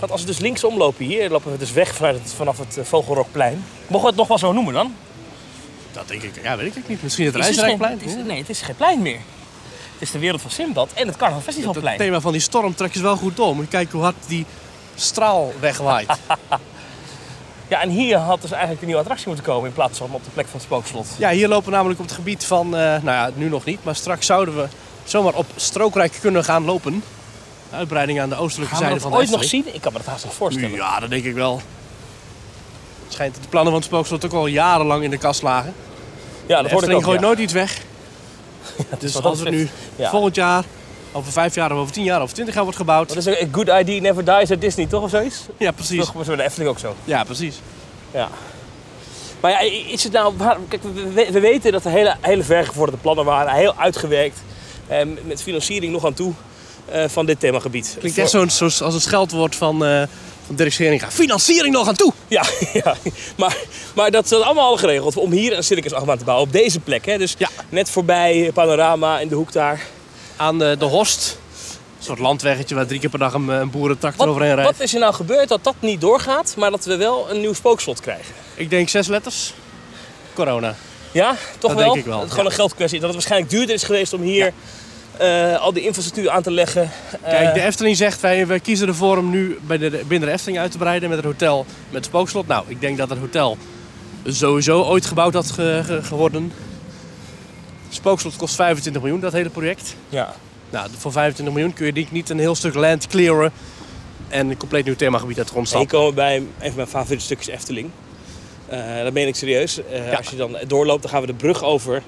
S5: Want als we dus linksom lopen hier, lopen we dus weg vanuit het, vanaf het eh, Vogelrokplein. Mogen we het nog wel zo noemen dan?
S2: Dat denk ik, ja, weet ik niet. Misschien het
S5: Is dus geen-
S2: Rijsrijkplein.
S5: het is- nee, het is geen plein meer. Het is de wereld van Simbad en het Carnaval
S2: Het
S5: Festivalplein.
S2: thema van die storm trek is wel goed door. Moet je kijken hoe hard die straal
S5: (laughs)
S2: wegwaait.
S5: Ja, en hier had dus eigenlijk een nieuwe attractie moeten komen in plaats van op de plek van het spookslot.
S2: ja, hier lopen we namelijk op het gebied van, eh, nou ja, nu nog niet, maar straks zouden we zomaar op strookrijk kunnen gaan lopen. Uitbreiding aan de oostelijke
S5: Gaan we
S2: zijde
S5: dat
S2: van de
S5: ooit nog
S2: Efteling.
S5: zien? Ik kan me dat haast nog voorstellen.
S2: Ja, dat denk ik wel. Het schijnt dat de plannen van het spookslot ook al jarenlang in de kast lagen.
S5: Ja, dat
S2: De
S5: hoorde ik
S2: Efteling
S5: ook.
S2: gooit
S5: ja.
S2: nooit iets weg.
S5: (laughs)
S2: dus
S5: wat
S2: als
S5: dat
S2: het nu
S5: betreft, ja.
S2: volgend jaar, over vijf jaar, of over tien jaar, of twintig jaar wordt gebouwd.
S5: Dat is een good idea, never dies at Disney, toch? Of zoiets?
S2: Ja, precies.
S5: Toch was bij de Efteling ook zo.
S2: Ja, precies.
S5: Ja. Maar ja, is het nou... waar- Kijk, we, we- we weten dat er hele, hele vergevorderde plannen waren. Heel uitgewerkt. eh, met financiering nog aan toe eh, van dit themagebied.
S2: Klinkt echt zo'n, zoals als het scheldwoord van, eh van Dirk Scheringa. Financiering nog aan toe!
S5: Ja, (laughs) ja. Maar, maar dat is allemaal al geregeld. Om hier een circusachtbaan te bouwen. Op deze plek. Hè? Dus
S2: Ja.
S5: net voorbij eh, Panorama in de hoek daar.
S2: Aan eh, de, de Horst. Een soort landweggetje waar drie keer per dag een, eh, een boerentractor overheen rijdt.
S5: wat is er nou gebeurd dat dat niet doorgaat, maar dat we wel een nieuw spookslot krijgen?
S2: Ik denk zes letters. Corona.
S5: Ja, toch
S2: Dat
S5: wel?
S2: denk ik wel,
S5: Dat het gewoon
S2: ja.
S5: een geldkwestie is. Dat het waarschijnlijk duurder is geweest om hier eh, al die infrastructuur aan te leggen.
S2: Kijk,
S5: Eh,
S2: de Efteling zegt, wij, wij kiezen ervoor om nu bij de, binnen de Efteling uit te breiden met het hotel met het spookslot. Nou, ik denk dat het hotel sowieso ooit gebouwd had ge- ge- geworden. Het spookslot kost 25 miljoen, dat hele project.
S5: Ja.
S2: Nou, voor 25 miljoen kun je denk ik niet een heel stuk land clearen en een compleet nieuw themagebied uit de grond
S5: En hier
S2: stampen.
S5: komen we bij een van mijn favoriete stukjes Efteling. Eh dat meen ik serieus. Eh, Als je dan doorloopt, dan gaan we de brug over.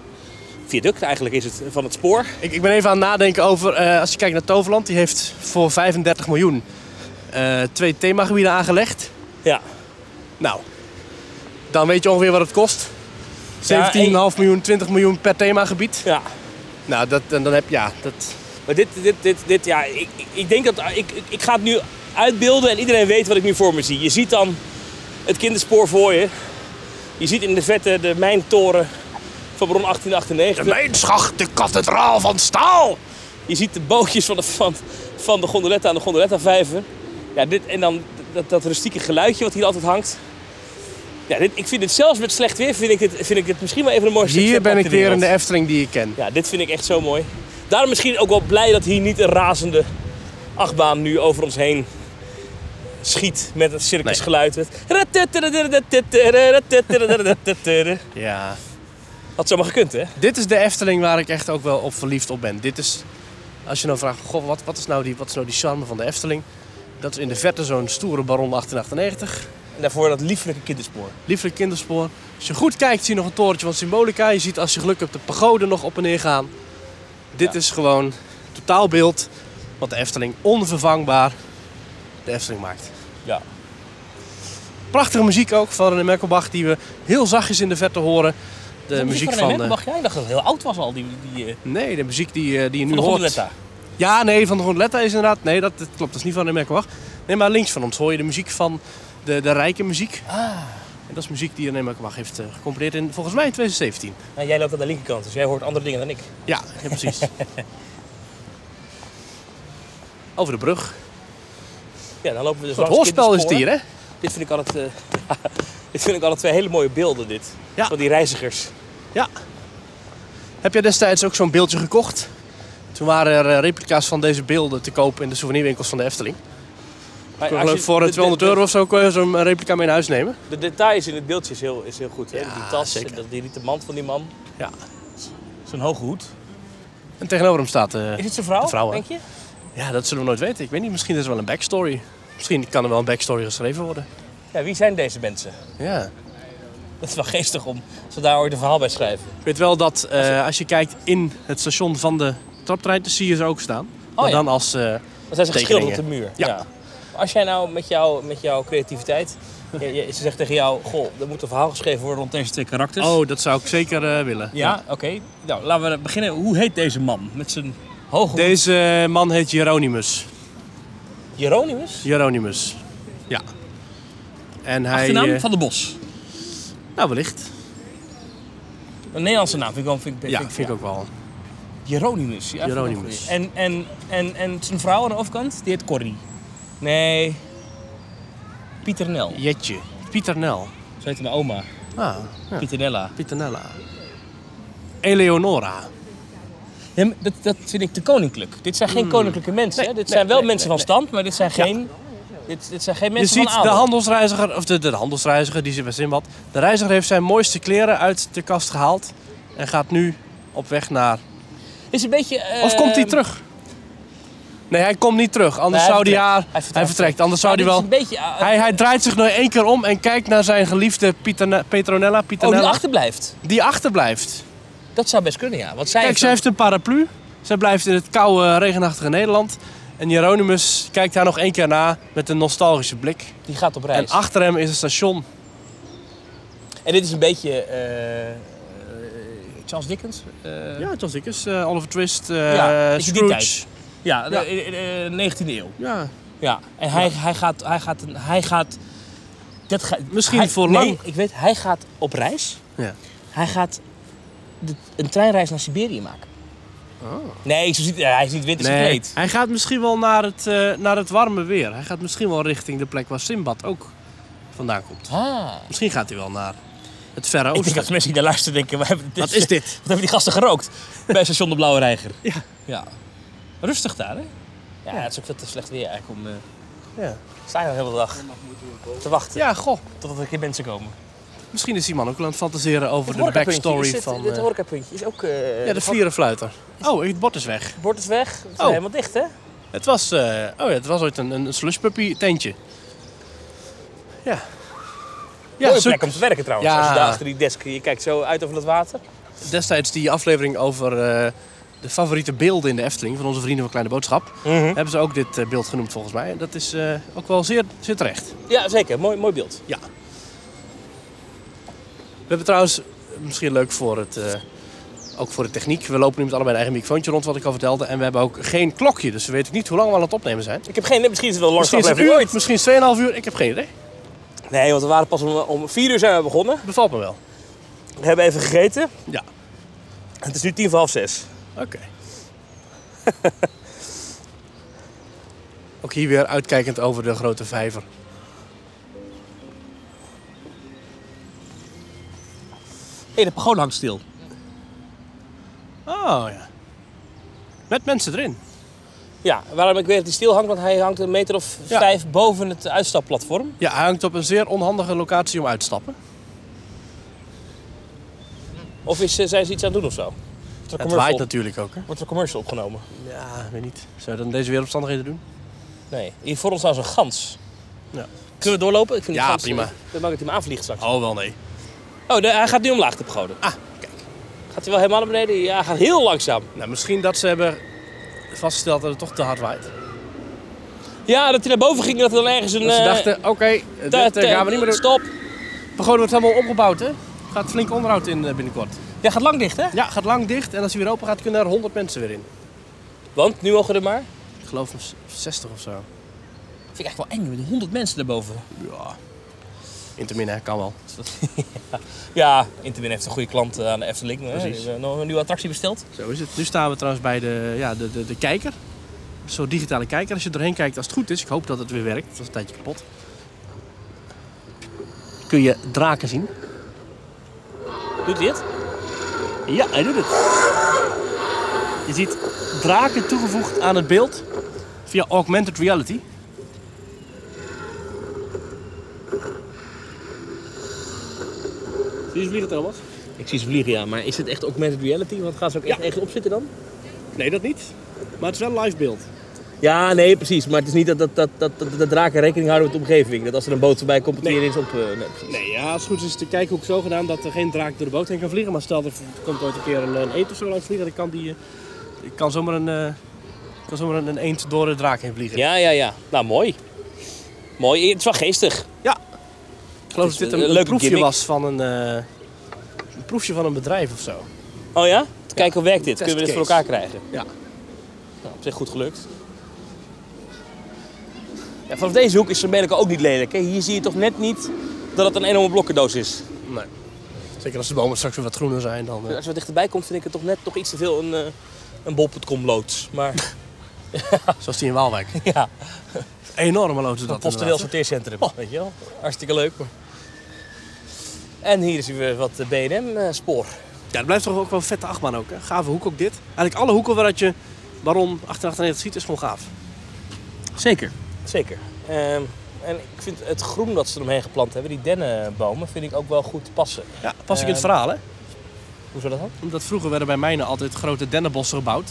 S5: Viaduct eigenlijk is het, van het spoor.
S2: Ik, ik ben even aan het nadenken over, eh, als je kijkt naar Toverland, die heeft voor 35 miljoen eh, twee themagebieden aangelegd.
S5: Ja.
S2: Nou, dan weet je ongeveer wat het kost. 17,5 miljoen, 20 miljoen per themagebied.
S5: ja.
S2: Nou, dat, en dan heb je, ja, dat...
S5: Maar dit, dit, dit, dit ja, ik, ik- ik denk dat, ik, ik- ik ga het nu uitbeelden en iedereen weet wat ik nu voor me zie. Je ziet dan het kinderspoor voor je. Je ziet in de vette de mijntoren van rond 1898.
S7: De mijnschacht, de kathedraal van staal.
S5: Je ziet de bootjes van de, van, van de gondoletta aan de gondoletta-vijver. Ja, dit, en dan dat, dat rustieke geluidje wat hier altijd hangt. Ja, dit, ik vind het zelfs met slecht weer, vind ik dit, vind ik dit misschien wel even de mooiste
S2: Hier
S5: trip
S2: ben
S5: op
S2: ik weer in
S5: wereld.
S2: de Efteling die ik ken.
S5: Ja, dit vind ik echt zo mooi. Daarom misschien ook wel blij dat hier niet een razende achtbaan nu over ons heen schiet met het (laughs) circusgeluid. Het-
S2: Ja.
S5: Had zomaar gekund, hè?
S2: Dit is de Efteling waar ik echt ook wel op verliefd op ben. Dit is, als je nou vraagt, goh, wat, wat, is nou die, wat is nou die charme van de Efteling? Dat is in de verte zo'n stoere baron 1898.
S5: En daarvoor dat lieflijke kinderspoor.
S2: Lieflijk kinderspoor. Als je goed kijkt zie je nog een torentje van Symbolica. Je ziet als je geluk hebt de pagode nog op en neer gaan. Dit is gewoon totaalbeeld wat de Efteling onvervangbaar de Efteling maakt.
S5: Ja.
S2: Prachtige muziek ook van René Merkelbach die we heel zachtjes in de verte horen. De muziek van... eh,
S5: Mag jij dacht dat het heel oud was al, die, die eh,
S2: nee, de muziek die, eh, die je nu
S5: van de
S2: hoort.
S5: Gondoletta.
S2: Ja, nee, van de Gondoletta is inderdaad. Nee, dat, dat klopt. Dat is niet van de Merkenwacht. Nee, maar links van ons hoor je de muziek van de, de rijke muziek. Ah. En dat is muziek die René Merkenwacht heeft eh, gecomponeerd in, volgens mij, in 2017.
S5: Nou, jij loopt aan de linkerkant, dus jij hoort andere dingen dan ik.
S2: Ja, ja, precies. (laughs) Over de brug.
S5: Ja, dan lopen we dus
S2: Het
S5: langs
S2: hoorspel is het
S5: kinderspoor.
S2: hier, hè?
S5: Dit vind ik altijd, eh, (laughs) dit vind ik altijd twee hele mooie beelden, dit.
S2: Ja.
S5: Van die reizigers.
S2: Ja. Heb jij destijds ook zo'n beeldje gekocht? Toen waren er eh, replica's van deze beelden te kopen in de souvenirwinkels van de Efteling.
S5: Maar
S2: Ik
S5: Eh, als je-
S2: geloof voor eh,
S5: de- de-
S2: 200
S5: de-
S2: euro of zo kon je zo'n eh, replica mee naar huis nemen.
S5: De details in het beeldje is heel, is heel goed. Hè?
S2: Ja,
S5: die tas,
S2: zeker.
S5: en dat die rieten mand van die man.
S2: Ja.
S5: Zo'n hoge hoed.
S2: En tegenover hem staat... eh,
S5: Is het zijn vrouw,
S2: De vrouw, hè?
S5: denk je?
S2: Ja, dat zullen we nooit weten. Ik weet niet, misschien is er wel een backstory. Misschien kan er wel een backstory geschreven worden.
S5: Ja, wie zijn deze mensen? (laughs)
S2: Ja.
S5: Dat is wel geestig om ze daar ooit een verhaal bij schrijven.
S2: Ik weet wel dat eh, als je kijkt in het station van de traptrein, dan zie je ze ook staan. maar
S5: Oh ja.
S2: dan als... eh,
S5: Dan zijn ze geschilderd op de
S2: Tekeningen.
S5: muur.
S2: Ja.
S5: Als jij nou met, jou, met jouw creativiteit... je, je- ze zegt tegen jou, goh, er moet een verhaal geschreven worden rond deze twee karakters.
S2: oh, dat zou ik zeker eh, willen.
S5: Ja, oké. Nou, laten we beginnen. Hoe heet deze man? Met zijn hoge hoed.
S2: Deze man heet Jeronimus.
S5: Jeronimus?
S2: Jeronimus. Ja. En hij...
S5: Achternaam?
S2: eh,
S5: Van de Bos.
S2: Nou, wellicht.
S5: Een Nederlandse naam vind ik wel... Vind ik,
S2: Ja, vind ik ook wel.
S5: Jeronimus. Ja, vind ik ook
S2: Jeronimus.
S5: goed. En, en, en, en zijn vrouw aan de overkant, die heet Corrie. Nee. Pieter Nel.
S2: Jetje. Pieter Nel.
S5: Zo heette mijn oma.
S2: Ah, ja.
S5: Pieter Nella.
S2: Pieter Nella. Eleonora.
S5: Ja, maar dat, dat vind ik te koninklijk. Dit zijn geen
S2: Hmm.
S5: koninklijke mensen. hè? Dit zijn wel mensen van stand, maar dit zijn geen, dit, dit zijn geen
S2: Je
S5: mensen
S2: ziet
S5: van
S2: de
S5: adel.
S2: handelsreiziger, of de, de handelsreiziger, die zit bij Simbad. De reiziger heeft zijn mooiste kleren uit de kast gehaald. En gaat nu op weg naar...
S5: Is een beetje... eh,
S2: Of komt hij terug? Nee, hij komt niet terug. Anders
S5: Nee, hij
S2: zou hij
S5: vertrekt.
S2: haar...
S5: Hij
S2: Hij
S5: vertrekt.
S2: vertrekt. Anders zou
S5: maar
S2: hij
S5: dit is
S2: wel...
S5: een beetje... eh,
S2: Hij, hij draait zich nog één keer om en kijkt naar zijn geliefde Pieterne- Petronella.
S5: oh,
S2: Pieternella,
S5: die achterblijft.
S2: die achterblijft.
S5: Dat zou best kunnen, ja. Want zij
S2: Kijk,
S5: heeft
S2: zij heeft een paraplu. Zij blijft in het koude, regenachtige Nederland. En Jeronimus kijkt haar nog één keer na met een nostalgische blik.
S5: een- die gaat op reis.
S2: En achter hem is het station.
S5: En dit is een beetje... eh, eh, Charles Dickens? Eh,
S2: Ja, John Dickens, eh, Oliver Twist, eh
S5: Ja, ik zie die
S2: Scrooge.
S5: tijd. ja, de- eh, eh, 19e eeuw.
S2: Ja.
S5: Ja, en hij, hij gaat... Hij gaat, een- hij gaat dat ga,
S2: Misschien
S5: hij-
S2: voor
S5: nee,
S2: lang.
S5: ik weet, hij gaat op reis.
S2: Ja.
S5: Hij gaat de- een treinreis naar Siberië maken. Nee, zo ziet, hij is niet wit, is
S2: Oh. Nee,
S5: gekleed.
S2: hij gaat misschien wel naar het, eh, naar het warme weer. Hij gaat misschien wel richting de plek waar Simbad ook vandaan komt.
S5: Ah.
S2: Misschien gaat hij wel naar het Verre
S5: Ik denk
S2: Oosten.
S5: dat mensen die daar luisteren denken, wat hebben, dit-
S2: Wat is dit?
S5: wat hebben die gasten gerookt? Bij station De Blauwe Reiger. Ja. ja. Rustig daar, hè? Ja, het is ook veel te slecht weer eigenlijk om... eh
S2: Ja.
S5: Sta je al de hele dag te wachten
S2: Ja, goh.
S5: totdat er een keer mensen komen.
S2: Misschien is die man ook wel aan het fantaseren over
S5: Dit
S2: de
S5: horecapuntje
S2: backstory
S5: is dit-
S2: van...
S5: Dit
S2: eh,
S5: horecapuntje is ook... eh,
S2: ja, de
S5: het
S2: vlierenfluiter. Oh, het bord is weg.
S5: Bord is weg. Het is
S2: Oh.
S5: helemaal dicht, hè?
S2: Het was, eh, oh ja, het was ooit een, een slushpuppy tentje. Ja. Ja,
S5: Mooie
S2: zo-
S5: plek om te werken trouwens.
S2: Ja.
S5: eh, Als je daar achter die desk, je kijkt zo uit over het water.
S2: destijds die aflevering over eh, de favoriete beelden in de Efteling van onze vrienden van Kleine Boodschap.
S5: Mhm.
S2: Hebben ze ook dit eh, beeld genoemd volgens mij. En dat is eh, ook wel zeer, zeer terecht.
S5: Ja, zeker. Mooi, mooi beeld.
S2: Ja. We hebben trouwens, eh, misschien leuk voor het, eh, ook voor de techniek. We lopen nu met allebei een eigen microfoontje rond, wat ik al vertelde. En we hebben ook geen klokje, dus we weten niet hoe lang we aan het opnemen zijn.
S5: Ik heb geen idee. Misschien is het wel langs
S2: Misschien is het een uur,
S5: aflevering ooit.
S2: misschien is het 2,5 uur, ik heb geen idee.
S5: Nee, want we waren pas om, om vier uur zijn we begonnen.
S2: Bevalt me wel.
S5: We hebben even gegeten.
S2: Ja,
S5: Het is nu tien voor half zes.
S2: oké. (laughs) ook hier weer uitkijkend over de grote vijver.
S5: Hé, de pagoda hangt stil.
S2: Oh ja. Met mensen erin.
S5: Ja, waarom ik weet dat hij stil hangt, want hij hangt een meter of
S2: Ja.
S5: vijf boven het uitstapplatform.
S2: Ja, hij hangt op een zeer onhandige locatie om uit te stappen.
S5: Of is, eh, zijn ze iets aan het doen of zo? Wordt
S2: Ja, het
S5: er, een
S2: waait
S5: commercial,
S2: natuurlijk ook, hè?
S5: wordt er een commercial opgenomen?
S2: Ja, weet niet. Zou je dan deze weeromstandigheden doen?
S5: Nee, hier voor ons staat zo'n gans.
S2: Ja.
S5: Kunnen we doorlopen? Ik vind die
S2: Ja,
S5: gans,
S2: prima.
S5: eh, Dan maak ik hem aanvliegen straks.
S2: Oh, wel nee.
S5: Oh, de- hij gaat nu omlaag te pagoda.
S2: Ah,
S5: Gaat hij wel helemaal naar beneden? Ja, hij gaat heel langzaam.
S2: Nou, misschien dat ze hebben vastgesteld dat het toch te hard waait.
S5: Ja, dat hij naar boven ging, dat er dan ergens een...
S2: Dat Dus ze
S5: eh,
S2: dachten, oké, dit
S5: da-
S2: eh,
S5: da-
S2: gaan we niet meer doen.
S5: Stop.
S2: Pagode wordt helemaal opgebouwd, hè? Gaat flink onderhoud in eh, binnenkort.
S5: Ja, gaat lang dicht, hè?
S2: Ja, gaat lang dicht en als hij weer open gaat, kunnen er 100 mensen weer in.
S5: Want, nu mogen er maar...
S2: Ik geloof een s- 60 of zo.
S5: Vind ik eigenlijk wel eng, met 100 mensen daarboven.
S2: Ja. Intermin, hè? Kan wel.
S5: Ja, Intermin heeft een goede klant eh, aan de Efteling. hè.
S2: Precies.
S5: Die hebben nog een nieuwe attractie besteld.
S2: Zo is het. Nu staan we trouwens bij de, ja, de, de, de kijker. Zo'n digitale kijker. Als je doorheen kijkt, als het goed is, ik hoop dat het weer werkt. Dat is een tijdje kapot. Kun je draken zien?
S5: Doet hij het?
S2: Ja, hij doet het. Je ziet draken toegevoegd aan het beeld via augmented reality. Zie je vliegen, Thomas?
S5: Ik zie ze vliegen, ja. Maar is het echt augmented reality? Want gaan ze ook echt echt opzitten dan?
S2: Nee, dat niet. Maar het is wel een live beeld.
S5: Ja, nee, precies. Maar het is niet dat, dat, dat, dat, dat de draken rekening houden met de omgeving. Dat als er een boot voorbij komt, dat die
S2: Nee.
S5: ineens op... eh, nee, precies.
S2: Nee, ja, als het goed is, is de kijkhoek zo gedaan dat er geen draak door de boot heen kan vliegen. Maar stel dat er komt ooit een keer een, een eend of zo langs vliegen, dan kan die. eh, kan zomaar een. eh, kan zomaar een, een eend door de draak heen vliegen.
S5: Ja, ja, ja. Nou, mooi. Mooi. Het is wel geestig.
S2: Ik geloof
S5: Het
S2: dat dit
S5: is een
S2: een, een
S5: leuke
S2: proefje
S5: gimmick.
S2: was van een. eh, een proefje van een bedrijf of zo.
S5: Oh ja? Te kijken hoe werkt dit. Kunnen we dit voor
S2: testcase.
S5: elkaar krijgen?
S2: Ja.
S5: Nou, op zich goed gelukt. Ja, vanaf deze hoek is Amerika ook niet lelijk. Hè? Hier zie je toch net niet dat het een enorme blokkendoos is.
S2: Nee. Zeker als de bomen straks weer wat groener zijn dan. eh.
S5: Als je wat dichterbij komt, vind ik het toch net toch iets te veel een, eh, een bol.com loods. (laughs) Maar
S2: Zoals die in Waalwijk.
S5: (laughs) ja,
S2: Enorme lood is dat.
S5: een PostNL
S2: inderdaad.
S5: sorteercentrum. Weet je wel? Hartstikke leuk. Maar... En hier is weer wat eh, BNM-spoor.
S2: Ja, het blijft toch ook wel een vette achtbaan ook. Hè? Gave hoek ook dit. Eigenlijk alle hoeken waaruit je Baron 1898 ziet is gewoon gaaf.
S5: Zeker. Zeker. Ehm, en ik vind het groen dat ze eromheen geplant hebben, die dennenbomen, vind ik ook wel goed passen.
S2: Ja, pas ik in het
S5: Eh,
S2: verhaal hè.
S5: Hoezo dat dan?
S2: Omdat vroeger werden bij mijnen altijd grote dennenbossen gebouwd.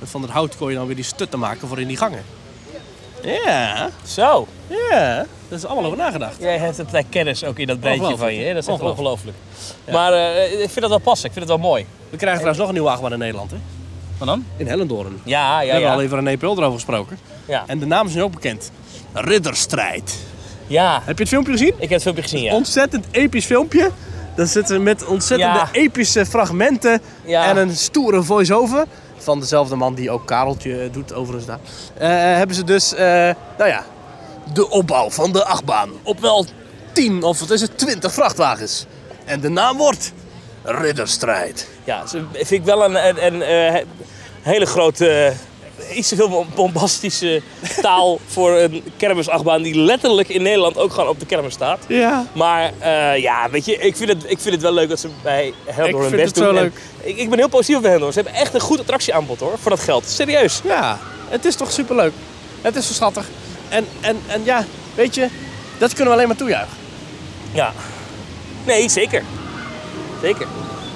S2: En van het hout kon je dan weer die stutten maken voor in die gangen. Ja,
S5: Zo,
S2: ja. Dat is allemaal over nagedacht.
S5: jij hebt het eh, kennis ook in dat breintje van je. Hè? Dat is echt
S2: Ongelooflijk.
S5: ongelooflijk. Maar eh, ik vind dat wel passen, ik vind het wel mooi.
S2: We krijgen trouwens nog een nieuwe achtbaan in Nederland, hè?
S5: Wat dan?
S2: In Hellendoorn. We
S5: Ja, ja,
S2: hebben
S5: ja.
S2: al even René Peul erover gesproken.
S5: Ja.
S2: En de naam is nu ook bekend. Ridderstrijd.
S5: ja.
S2: Heb je het filmpje gezien?
S5: Ik heb het filmpje gezien, ja.
S2: Ontzettend episch filmpje. Dan zitten we met ontzettende
S5: Ja.
S2: epische fragmenten
S5: Ja.
S2: en een stoere voice-over. Van dezelfde man die ook Kareltje doet overigens daar. Eh, hebben ze dus, eh, nou ja, de opbouw van de achtbaan. Op wel 10 of wat is het, 20 vrachtwagens. En de naam wordt Ridderstrijd.
S5: Ja, ze- vind ik wel een, een, een, eh, hele grote, eh, iets te veel bom-
S2: (laughs)
S5: bombastische taal voor een kermisachtbaan die letterlijk in Nederland ook gewoon op de kermis staat.
S2: Ja.
S5: Maar eh, ja, weet je, ik vind, het, ik vind het wel leuk dat ze bij Helmond
S2: Ik
S5: hun
S2: vind
S5: best
S2: het
S5: doen.
S2: wel
S5: En Ik, ik ben heel positief bij Helmond. Ze hebben echt een goed attractieaanbod hoor, voor dat geld. Serieus.
S2: Ja, het is toch superleuk. Het is zo schattig. En, en, en ja, weet je, dat kunnen we alleen maar toejuichen.
S5: Ja. Nee, zeker. Zeker.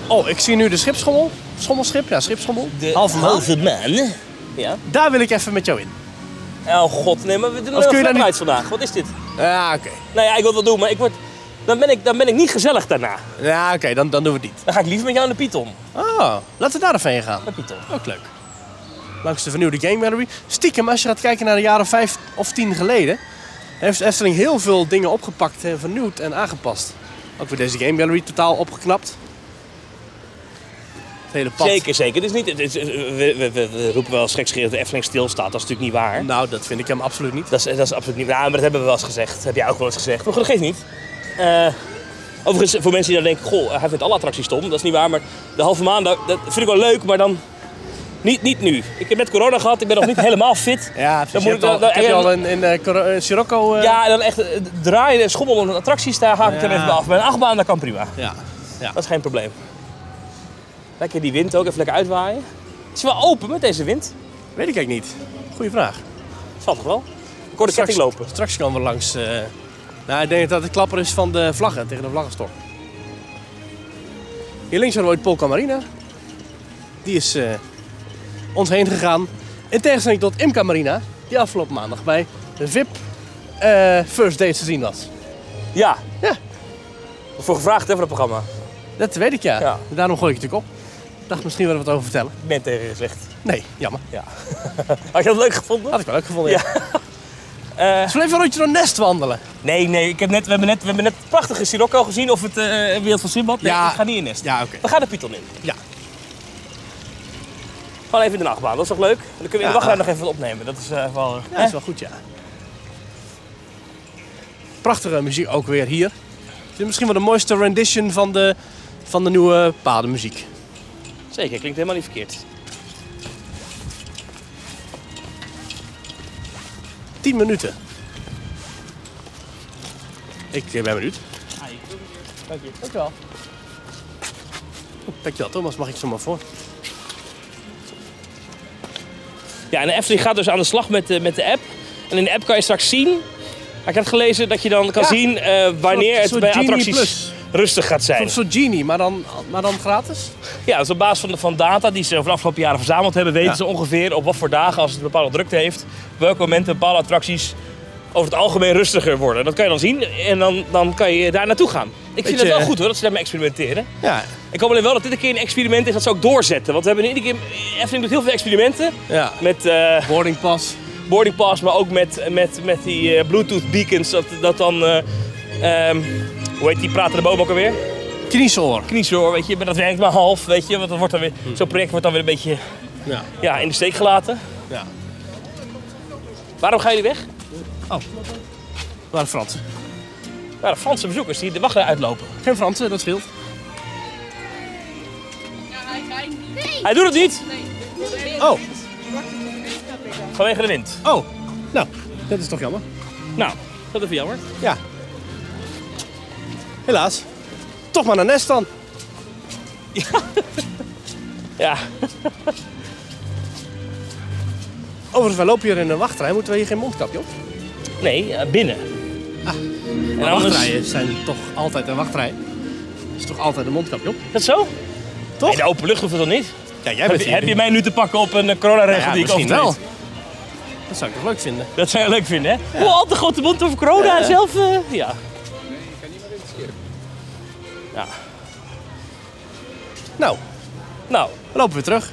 S2: Oh, ik zie nu de schipschommel. Schommelschip, ja, schipschommel.
S5: De
S2: halve maan.
S5: man. Ja.
S2: Daar wil ik even met jou in.
S5: Oh god, nee, maar we doen
S2: kun je
S5: er
S2: daar
S5: een
S2: niet-
S5: uit vandaag. Wat is dit?
S2: Ja, oké.
S5: Nou ja, ik wil het wel doen, maar ik word... dan ben ik, dan ben ik niet gezellig daarna.
S2: Ja, oké, dan, dan doen we het niet.
S5: Dan ga ik liever met jou naar de Python.
S2: Oh, laten we daar even heen gaan.
S5: Naar Python.
S2: Ook leuk. Langs de vernieuwde Game Gallery. Stiekem, als je gaat kijken naar de jaren vijf of tien geleden, heeft Efteling heel veel dingen opgepakt en vernieuwd en aangepast. Ook weer deze Game Gallery totaal opgeknapt. Het hele pad.
S5: Zeker, zeker. Het is niet, het is- we, we, we- we roepen wel gekscherend dat de Efteling stilstaat. Dat is natuurlijk niet waar.
S2: Nou, dat vind ik hem absoluut niet.
S5: Dat is, dat is absoluut niet waar. maar dat hebben we wel eens gezegd. Dat heb jij ook wel eens gezegd. Maar goed, dat geeft niet. Eh, overigens, voor mensen die dan denken, goh, hij vindt alle attracties stom. Dat is niet waar, maar de halve maand, dat dat vind ik wel leuk, maar dan... Niet, niet nu. Ik heb net corona gehad, ik ben
S2: (laughs)
S5: nog niet helemaal fit.
S2: Ja, precies.
S5: Dan
S2: je
S5: moet
S2: hebt
S5: ik
S2: al,
S5: dan- dan-
S2: heb je
S5: en-
S2: al in, in eh, Cor- eh, Sirocco... eh,
S5: Ja, en dan echt eh, draaien en schommelen aan attracties, daar haak ik er
S2: Ja.
S5: even bij af. Bij een achtbaan, dat kan prima.
S2: ja.
S5: Dat is geen probleem. Lekker die wind ook, even lekker uitwaaien. Het is wel open met deze wind.
S2: Weet ik eigenlijk niet. Goeie vraag.
S5: Valt toch wel? Ik hoor de ketting lopen.
S2: straks komen we langs... eh, nou, ik denk dat het klapper is van de vlaggen, tegen de vlaggenstok. Hier links hebben we ooit Polka Marina. Die is eh, ons heen gegaan. In tegenstelling tot Imca Marina, die afgelopen maandag bij de VIP eh, First Date te zien was.
S5: Ja.
S2: Ja.
S5: Voor gevraagd hè, voor dat programma.
S2: Dat weet ik ja.
S5: Ja.
S2: Daarom gooi ik het natuurlijk op. Ik dacht misschien wel wat over vertellen.
S5: Net tegen je gezegd.
S2: Nee, jammer.
S5: Had je dat leuk
S2: (laughs)
S5: gevonden?
S2: Had ik wel leuk gevonden. Ja. (laughs)
S5: Eh,
S2: Zullen we even een rondje door Nest wandelen?
S5: nee, nee. Ik heb net, we, hebben net, we hebben net het prachtige Sirocco gezien of het eh, Wereld van Simbad. Nee,
S2: Ja.
S5: ik ga niet in Nest.
S2: Ja, oké.
S5: We gaan de Python in.
S2: Ja.
S5: Gewoon even de nachtbaan, dat is toch leuk? Dan kunnen we in
S2: Ja.
S5: de wachtrij nog even wat opnemen. Dat is eh, wel...
S2: Ja, dat is wel goed, ja. Prachtige muziek ook weer hier. Dit is misschien wel de mooiste rendition van de, van de nieuwe padenmuziek.
S5: Zeker, klinkt helemaal niet verkeerd.
S2: 10 minuten. Ik eh, ben benieuwd.
S5: Dank je.
S2: Dankjewel. Dankjewel Thomas, mag ik zomaar voor?
S5: Ja, en de Efteling gaat dus aan de slag met de, met de app. En in de app kan je straks zien... Ik heb gelezen dat je dan kan
S2: Ja.
S5: zien eh, wanneer
S2: Een
S5: het
S2: soort
S5: bij
S2: Genie
S5: attracties
S2: Plus.
S5: rustig gaat zijn.
S2: Een soort genie, maar dan, maar dan gratis?
S5: Ja, dus op basis van, van data die ze over de afgelopen jaren verzameld hebben, weten
S2: Ja.
S5: ze ongeveer op wat voor dagen, als het een bepaalde drukte heeft, op welke momenten bepaalde attracties over het algemeen rustiger worden. Dat kan je dan zien en dan, dan kan je daar naartoe gaan. Ik vind
S2: je-
S5: het wel goed hoor, dat ze daarmee experimenteren.
S2: Ja.
S5: Ik hoop alleen wel dat dit een keer een experiment is dat ze ook doorzetten. Want we hebben nu iedere keer, Efteling doet heel veel experimenten
S2: ja.
S5: met eh,
S2: Boarding pass.
S5: boarding pass, maar ook met, met, met die eh, bluetooth beacons. Dat, dat dan, eh, ehm, hoe heet die pratende boom ook alweer?
S2: Kniesoor.
S5: Kniezoor, weet je, maar dat werkt maar half, weet je. Want dat wordt dan weer,
S2: Hm.
S5: zo'n project wordt dan weer een beetje
S2: Ja.
S5: ja, in de steek gelaten.
S2: ja.
S5: Waarom gaan jullie weg?
S2: Waar Frans?
S5: Ja, de Franse bezoekers die de wachtrij uitlopen.
S2: Geen Fransen, dat scheelt.
S5: Hij doet het niet!
S2: Oh,
S5: Vanwege de wind.
S2: oh. Nou, dat is toch jammer.
S5: Nou, dat is jammer.
S2: Ja. Helaas. Toch maar naar Nest dan.
S5: Ja, (laughs)
S2: Overigens, wij lopen hier in een wachtrij. Moeten we hier geen mondkapje op?
S5: nee, eh, binnen. en
S2: Ah, Maar
S5: anders...
S2: wachtrijen zijn toch altijd een wachtrij. Is toch altijd een mondkapje op?
S5: Is dat zo?
S2: Toch?
S5: Nee, de open lucht hoeft dat niet.
S2: Ja, jij
S5: Heb je, heb je mij nu te pakken op een eh, coronaregel die ik
S2: misschien wel.
S5: overtreed?
S2: Dat zou ik toch leuk vinden.
S5: Dat zou je leuk vinden, hè? Oh, al te grote mond over corona zelf. eh, ja.
S2: Nou,
S5: Nou,
S2: we lopen weer terug.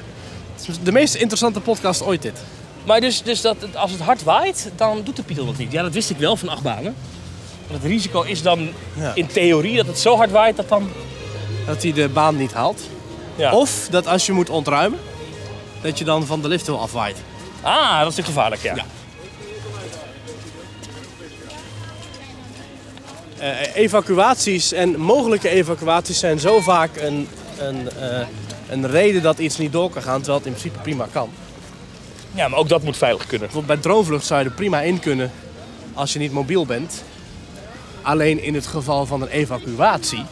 S2: Het is de meest interessante podcast ooit dit.
S5: maar dus, dus dat, het- als het hard waait, dan doet de Python dat niet. Ja, dat wist ik wel van achtbanen. Want het risico is dan
S2: Ja.
S5: in theorie dat het zo hard waait dat dan...
S2: Dat hij de baan niet haalt.
S5: Ja.
S2: Of dat als je moet ontruimen, dat je dan van de lift heel afwaait.
S5: Ah, dat is natuurlijk gevaarlijk, ja.
S2: Eh, evacuaties en mogelijke evacuaties zijn zo vaak een, een, eh, een reden dat iets niet door kan gaan, terwijl het in principe prima kan.
S5: Ja, maar ook dat moet veilig kunnen.
S2: Bijvoorbeeld bij droomvlucht zou je er prima in kunnen als je niet mobiel bent. Alleen in het geval van een evacuatie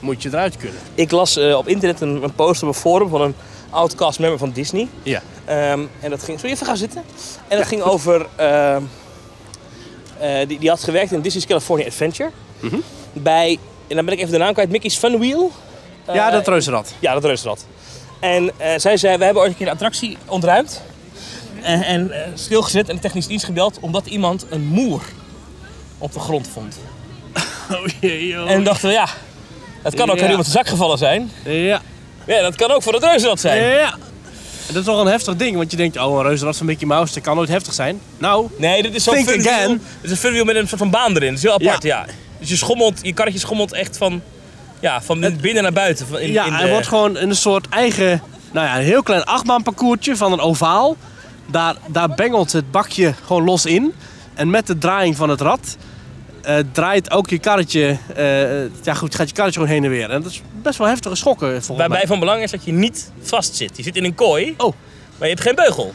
S2: moet je eruit kunnen.
S5: Ik las eh, op internet een, een post op een forum van een oud castmember van Disney.
S2: Ja.
S5: Ehm, en dat ging... Zul je even gaan zitten? En dat ging over... ehm, eh, die, die had gewerkt in Disney's California Adventure. Bij... En dan ben ik even de naam kwijt. Mickey's Fun Wheel.
S2: ja,
S5: Eh,
S2: dat reuzenrad.
S5: Ja, dat reuzenrad. En eh, zij zei, we hebben ooit een keer de attractie ontruimd. En, en eh, stilgezet en de technisch dienst gebeld omdat iemand een moer op de grond vond.
S2: Oh jee, joh.
S5: En dachten we, ja, dat kan ook
S2: Ja.
S5: aan iemand de zak gevallen zijn.
S2: Ja.
S5: Ja, dat kan ook voor het reuzenrad zijn.
S2: Ja. En dat is wel een heftig ding, want je denkt, oh, een reuzenrad van Mickey Mouse, dat kan nooit heftig zijn. Nou,
S5: Nee, dit is zo'n
S2: Think
S5: funwiel.
S2: again.
S5: Het is een funwiel met een soort van baan erin. Het is heel apart, ja. Dus je schommelt, je karretje schommelt echt van, ja, van binnen naar buiten. Van in,
S2: ja,
S5: in
S2: hij
S5: de-
S2: wordt gewoon een soort eigen, nou ja, een heel klein achtbaanparcoursje van een ovaal. Daar, daar bengelt het bakje gewoon los in. En met de draaiing van het rad eh, draait ook je karretje, eh, ja goed, gaat je karretje gewoon heen en weer. En dat is best wel heftige schokken volgens
S5: Waarbij
S2: mij.
S5: van belang is dat je niet vast zit. Je zit in een kooi,
S2: Oh,
S5: maar je hebt geen beugel.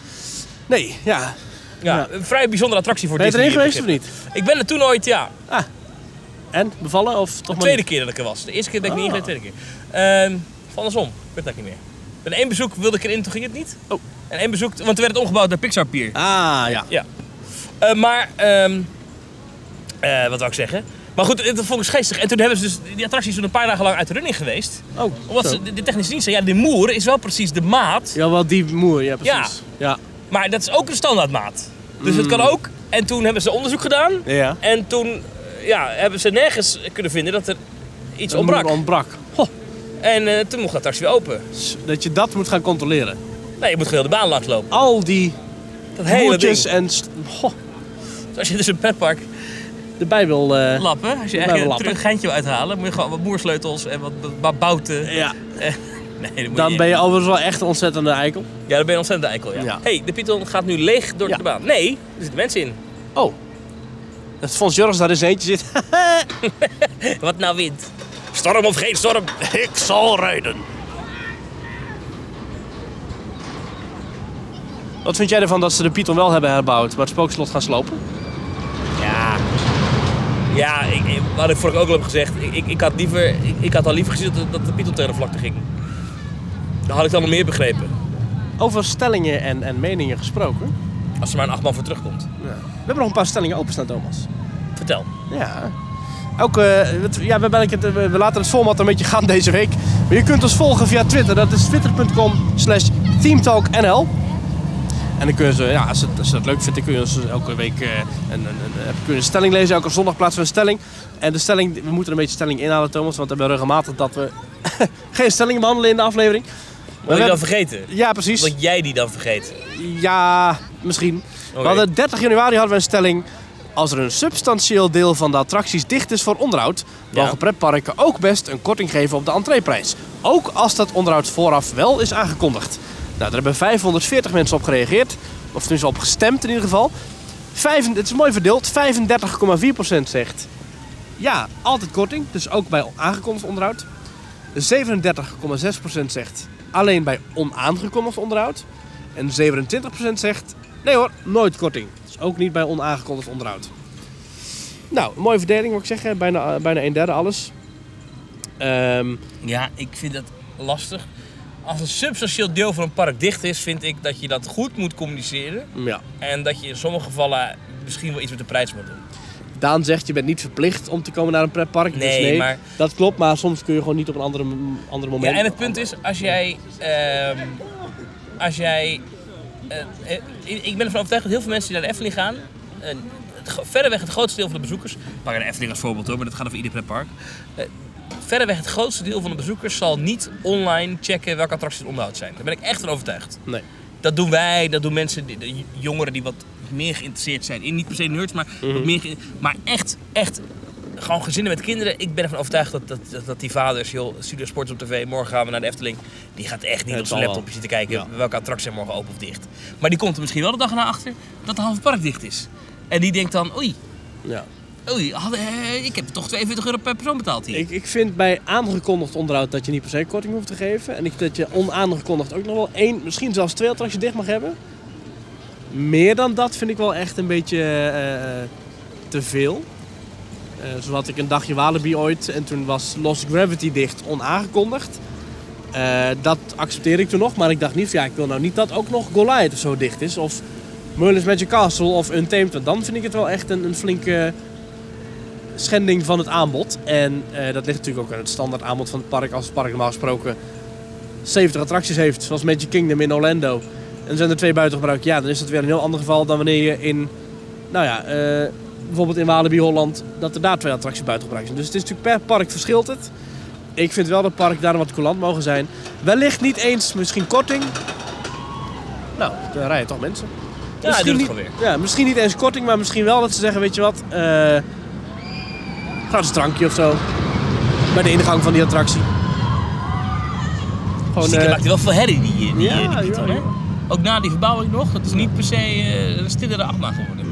S2: nee, ja.
S5: Ja,
S2: Ja.
S5: Een vrij bijzondere attractie voor
S2: Ben je
S5: Disney.
S2: erin geweest
S5: in
S2: of
S5: principe.
S2: niet?
S5: Ik ben er toen ooit, ja.
S2: En, bevallen of toch
S5: De
S2: maar
S5: tweede
S2: niet?
S5: keer dat ik er was. De eerste keer ben ik niet
S2: Ah.
S5: ingegaan, de tweede keer. Ehm, of andersom, ik weet het eigenlijk niet meer. Bij één bezoek wilde ik erin, toen ging het niet.
S2: Oh.
S5: En één bezoek, want toen werd het omgebouwd naar Pixar Pier.
S2: Ah, ja.
S5: Eh, maar, ehm, eh, wat wou ik zeggen? Maar goed, het vond ik geestig. En toen hebben ze dus, die attractie is toen een paar dagen lang uit de running geweest.
S2: Oh,
S5: Omdat
S2: zo.
S5: ze, de, de technische dienst zei, ja, de moer is wel precies de maat.
S2: Ja, wel die moer, ja precies. Ja.
S5: Maar dat is ook een standaardmaat. Dus het kan ook. En toen hebben ze onderzoek gedaan.
S2: Mm. Ja. ja.
S5: En toen eh, ja, hebben ze nergens kunnen vinden dat er iets
S2: De moer
S5: ontbrak.
S2: ontbrak. Ho,
S5: En eh, toen mocht de attractie weer open.
S2: dat je dat moet gaan controleren.
S5: Nee, je moet gewoon de baan langslopen.
S2: Al die
S5: Dat hele ding.
S2: moertjes en... st- Ho,
S5: Dus als je dus een petpark
S2: erbij wil... eh,
S5: lappen, als je
S2: Lappen,
S5: echt een
S2: lappen.
S5: terug geintje wil uithalen, moet je gewoon wat moersleutels en wat, wat bouten.
S2: ja.
S5: Nee, dat moet
S2: Dan
S5: niet.
S2: ben je overigens wel echt een ontzettende eikel.
S5: Ja, dan ben je ontzettend eikel. Ja.
S2: Ja.
S5: hey, de Python gaat nu leeg door
S2: Ja.
S5: de baan. Nee, er zitten mensen in.
S2: Oh. Dat Fons Jurgens daar eens eentje zit. (laughs)
S5: Wat nou wint?
S7: Storm of geen storm, ik zal rijden.
S2: Wat vind jij ervan dat ze de Python wel hebben herbouwd, maar het spookslot gaan slopen?
S5: Ja. Ja, ik, ik, wat ik vorige ook al heb gezegd, ik- ik, ik, had, liever, ik, ik had al liever gezien dat, dat de Python tegen de vlakte ging. Dan had ik dan nog meer begrepen.
S2: Over stellingen en, en meningen gesproken.
S5: Als er maar een achtbal voor terugkomt.
S2: We hebben nog een paar stellingen openstaan, Thomas.
S5: Vertel.
S2: Ja. Ook, eh, het- ja, we, hebben eigenlijk het, we- we laten het format een beetje gaan deze week. Maar je kunt ons volgen via Twitter. Dat is twitter.com slash teamtalknl. En dan kun je, ze- ja, als, het, als je dat leuk vindt, dan kun je ons elke week eh, een, een, een, kun je een stelling lezen. Elke zondag plaatsen we een stelling. En de stelling, we moeten een beetje stelling inhalen, Thomas. Want we hebben regelmatig dat we (laughs) geen stellingen behandelen in de aflevering.
S5: Wil
S2: we
S5: je dan
S2: hebben-
S5: vergeten?
S2: Ja, precies.
S5: Dat jij die dan vergeet.
S2: Ja, misschien. We hadden 30 januari hadden we een stelling. Als er een substantieel deel van de attracties dicht is voor onderhoud, mogen
S5: Ja.
S2: pretparken ook best een korting geven op de entreeprijs. Ook als dat onderhoud vooraf wel is aangekondigd. Nou, daar hebben 540 mensen op gereageerd. Of tenminste op gestemd in ieder geval. Vijf, het is mooi verdeeld. 35,4% zegt ja, altijd korting. Dus ook bij aangekondigd onderhoud. 37,6% zegt alleen bij onaangekondigd onderhoud. En 27% zegt, nee hoor, nooit korting. Dus ook niet bij onaangekondigd onderhoud. Nou, een mooie verdeling moet ik zeggen. Bijna, eh, bijna een derde alles. Ehm,
S5: Ja, ik vind dat lastig. Als een substantieel deel van een park dicht is, vind ik dat je dat goed moet communiceren.
S2: ja.
S5: En dat je in sommige gevallen misschien wel iets met de prijs moet doen.
S2: Daan zegt, je bent niet verplicht om te komen naar een pretpark. dus
S5: Nee,
S2: nee,
S5: maar-
S2: dat klopt. Maar soms kun je gewoon niet op een andere, andere moment.
S5: Ja, en het punt is, als jij. ehm, als jij. eh, eh, ik- ik ben ervan overtuigd dat heel veel mensen die naar de Efteling gaan. eh, het gro- verreweg het grootste deel van de bezoekers. Pak de Efteling als voorbeeld hoor, maar dat gaat over ieder pretpark. Eh, verreweg het grootste deel van de bezoekers zal niet online checken welke attracties het onderhoud zijn. Daar ben ik echt van overtuigd.
S2: Nee.
S5: Dat doen wij, dat doen mensen, die- de jongeren die wat meer geïnteresseerd zijn. In, niet per se nerds, maar,
S2: Mhm.
S5: wat meer, ge- maar echt, echt gewoon gezinnen met kinderen. Ik ben ervan overtuigd dat, dat, dat, dat die vaders, joh, Studio Sports op tv, morgen gaan we naar de Efteling. Die gaat echt niet
S2: Het
S5: op
S2: zal
S5: zijn laptopje
S2: wel.
S5: zitten kijken
S2: Ja.
S5: welke attracties zijn morgen open of dicht. Maar die komt er misschien wel de dag na achter dat de halve park dicht is. En die denkt dan, oei,
S2: Ja.
S5: oei, hadden- eh, ik heb toch 42 euro per persoon betaald hier.
S2: Ik, ik vind bij aangekondigd onderhoud dat je niet per se korting hoeft te geven. En ik, dat je onaangekondigd ook nog wel één, misschien zelfs twee attracties dicht mag hebben. Meer dan dat vind ik wel echt een beetje eh, eh, te veel. Eh zo had ik een dagje Walibi ooit en toen was Lost Gravity dicht onaangekondigd. Eh, dat accepteerde ik toen nog, maar ik dacht niet, van, ja, ik wil nou niet dat ook nog Goliath of zo dicht is. Of Merlin's Magic Castle of Untamed. Want dan vind ik het wel echt een, een flinke schending van het aanbod. En eh, dat ligt natuurlijk ook aan het standaard aanbod van het park. Als het park normaal gesproken 70 attracties heeft, zoals Magic Kingdom in Orlando. En er zijn er twee buiten gebruik. Ja, dan is dat weer een heel ander geval dan wanneer je in, nou ja, eh, bijvoorbeeld in Walibi Holland, dat er daar twee attracties buiten gebruikt zijn. Dus het is natuurlijk per park verschilt het. Ik vind wel dat park daar wat coulant mogen zijn. Wellicht niet eens misschien korting. Nou, daar rijden toch mensen.
S5: Ja, hij doet het
S2: niet,
S5: gewoon weer.
S2: Ja, misschien niet eens korting, maar misschien wel dat ze zeggen, weet je wat, eh gratis drankje of zo. Bij de ingang van die attractie. Gewoon,
S5: Stiekem
S2: eh,
S5: maakt hij wel veel herrie, die, die, die,
S2: Ja,
S5: Python,
S2: ja,
S5: hè?
S2: ja.
S5: Ook na die verbouwing nog, dat is niet per se eh, een stillere achtbaan geworden.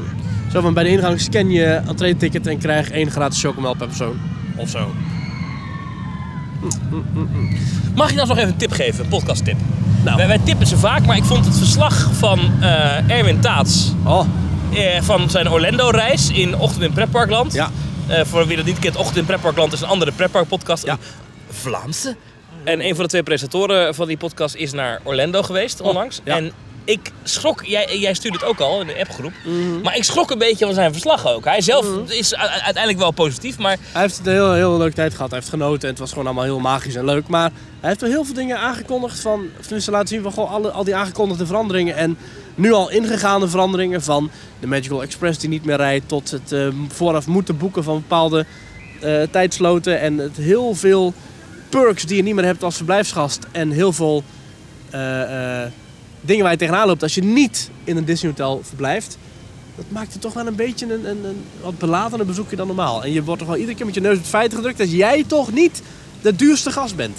S2: Zo van bij de ingang scan je entree-ticket en krijg één gratis chocomel per persoon. Of zo.
S5: Mag je nou nog even een tip geven, een podcasttip? Nou. Wij, wij tippen ze vaak, maar ik vond het verslag van eh, Erwin Taats
S2: Oh,
S5: eh, van zijn Orlando-reis in Ochtend in Pretparkland.
S2: Ja.
S5: Eh, voor wie dat niet kent, Ochtend in Pretparkland is een andere pretparkpodcast, een Vlaamse. En een van de twee presentatoren van die podcast is naar Orlando geweest onlangs.
S2: Oh, ja.
S5: En ik schrok, jij, jij stuurde het ook al in de appgroep,
S2: Mhm.
S5: maar ik schrok een beetje van zijn verslag ook. Hij zelf is u- uiteindelijk wel positief, maar
S2: hij heeft een heel, heel leuke tijd gehad. Hij heeft genoten en het was gewoon allemaal heel magisch en leuk. Maar hij heeft wel heel veel dingen aangekondigd van... Of tenminste laten zien van gewoon alle, al die aangekondigde veranderingen. En nu al ingegaande veranderingen van de Magical Express die niet meer rijdt... tot het eh, vooraf moeten boeken van bepaalde eh, tijdsloten. En het heel veel perks die je niet meer hebt als verblijfsgast. En heel veel eh, eh, dingen waar je tegenaan loopt als je niet in een Disney Hotel verblijft. Dat maakt het toch wel een beetje een, een, een wat beladener bezoekje dan normaal. En je wordt toch wel iedere keer met je neus op het feit gedrukt dat jij toch niet de duurste gast bent.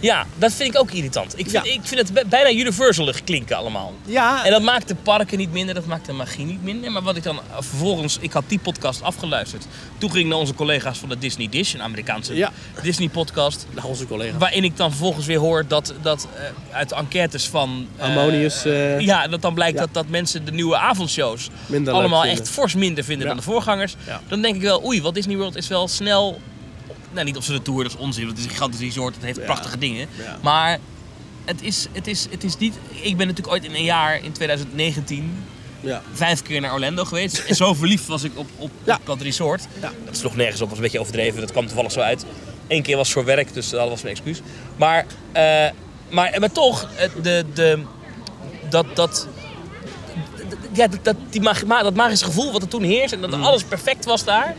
S5: ja, dat vind ik ook irritant. Ik vind,
S2: Ja.
S5: ik vind het bij- bijna universalig klinken allemaal.
S2: Ja,
S5: En dat maakt de parken niet minder, dat maakt de magie niet minder. Maar wat ik dan eh, vervolgens, ik had die podcast afgeluisterd. Toen ging ik naar onze collega's van de Disney Dish, een Amerikaanse
S2: Ja.
S5: Disney podcast.
S2: Nou, onze collega.
S5: Waarin ik dan vervolgens weer hoor dat, dat eh, uit de enquêtes van... eh,
S2: Harmonious, eh,
S5: ja, dat dan blijkt
S2: ja.
S5: dat, dat mensen de nieuwe avondshows
S2: Minder leuk
S5: allemaal
S2: vinden.
S5: echt fors minder vinden
S2: Ja.
S5: dan de voorgangers.
S2: Ja.
S5: Dan denk ik wel, oei, Walt Disney World is wel snel... Nou, niet op zijn tour, dat is onzin, want het is een gigantisch resort, het heeft prachtige dingen.
S2: Ja.
S5: Maar het is, het, is, het is niet... Ik ben natuurlijk ooit in een jaar, in 2019,
S2: Ja.
S5: vijf keer naar Orlando geweest. En zo verliefd was ik op, op,
S2: Ja.
S5: op dat resort.
S2: Ja.
S5: Dat sloeg nergens op, was een beetje overdreven. Dat kwam toevallig zo uit. Eén keer was het voor werk, dus dat was mijn excuus. Maar, eh, maar, maar toch, eh, de, de, dat, dat, ja, dat, dat, die mag, ma- dat magische gevoel wat er toen heerst... en dat alles perfect was daar...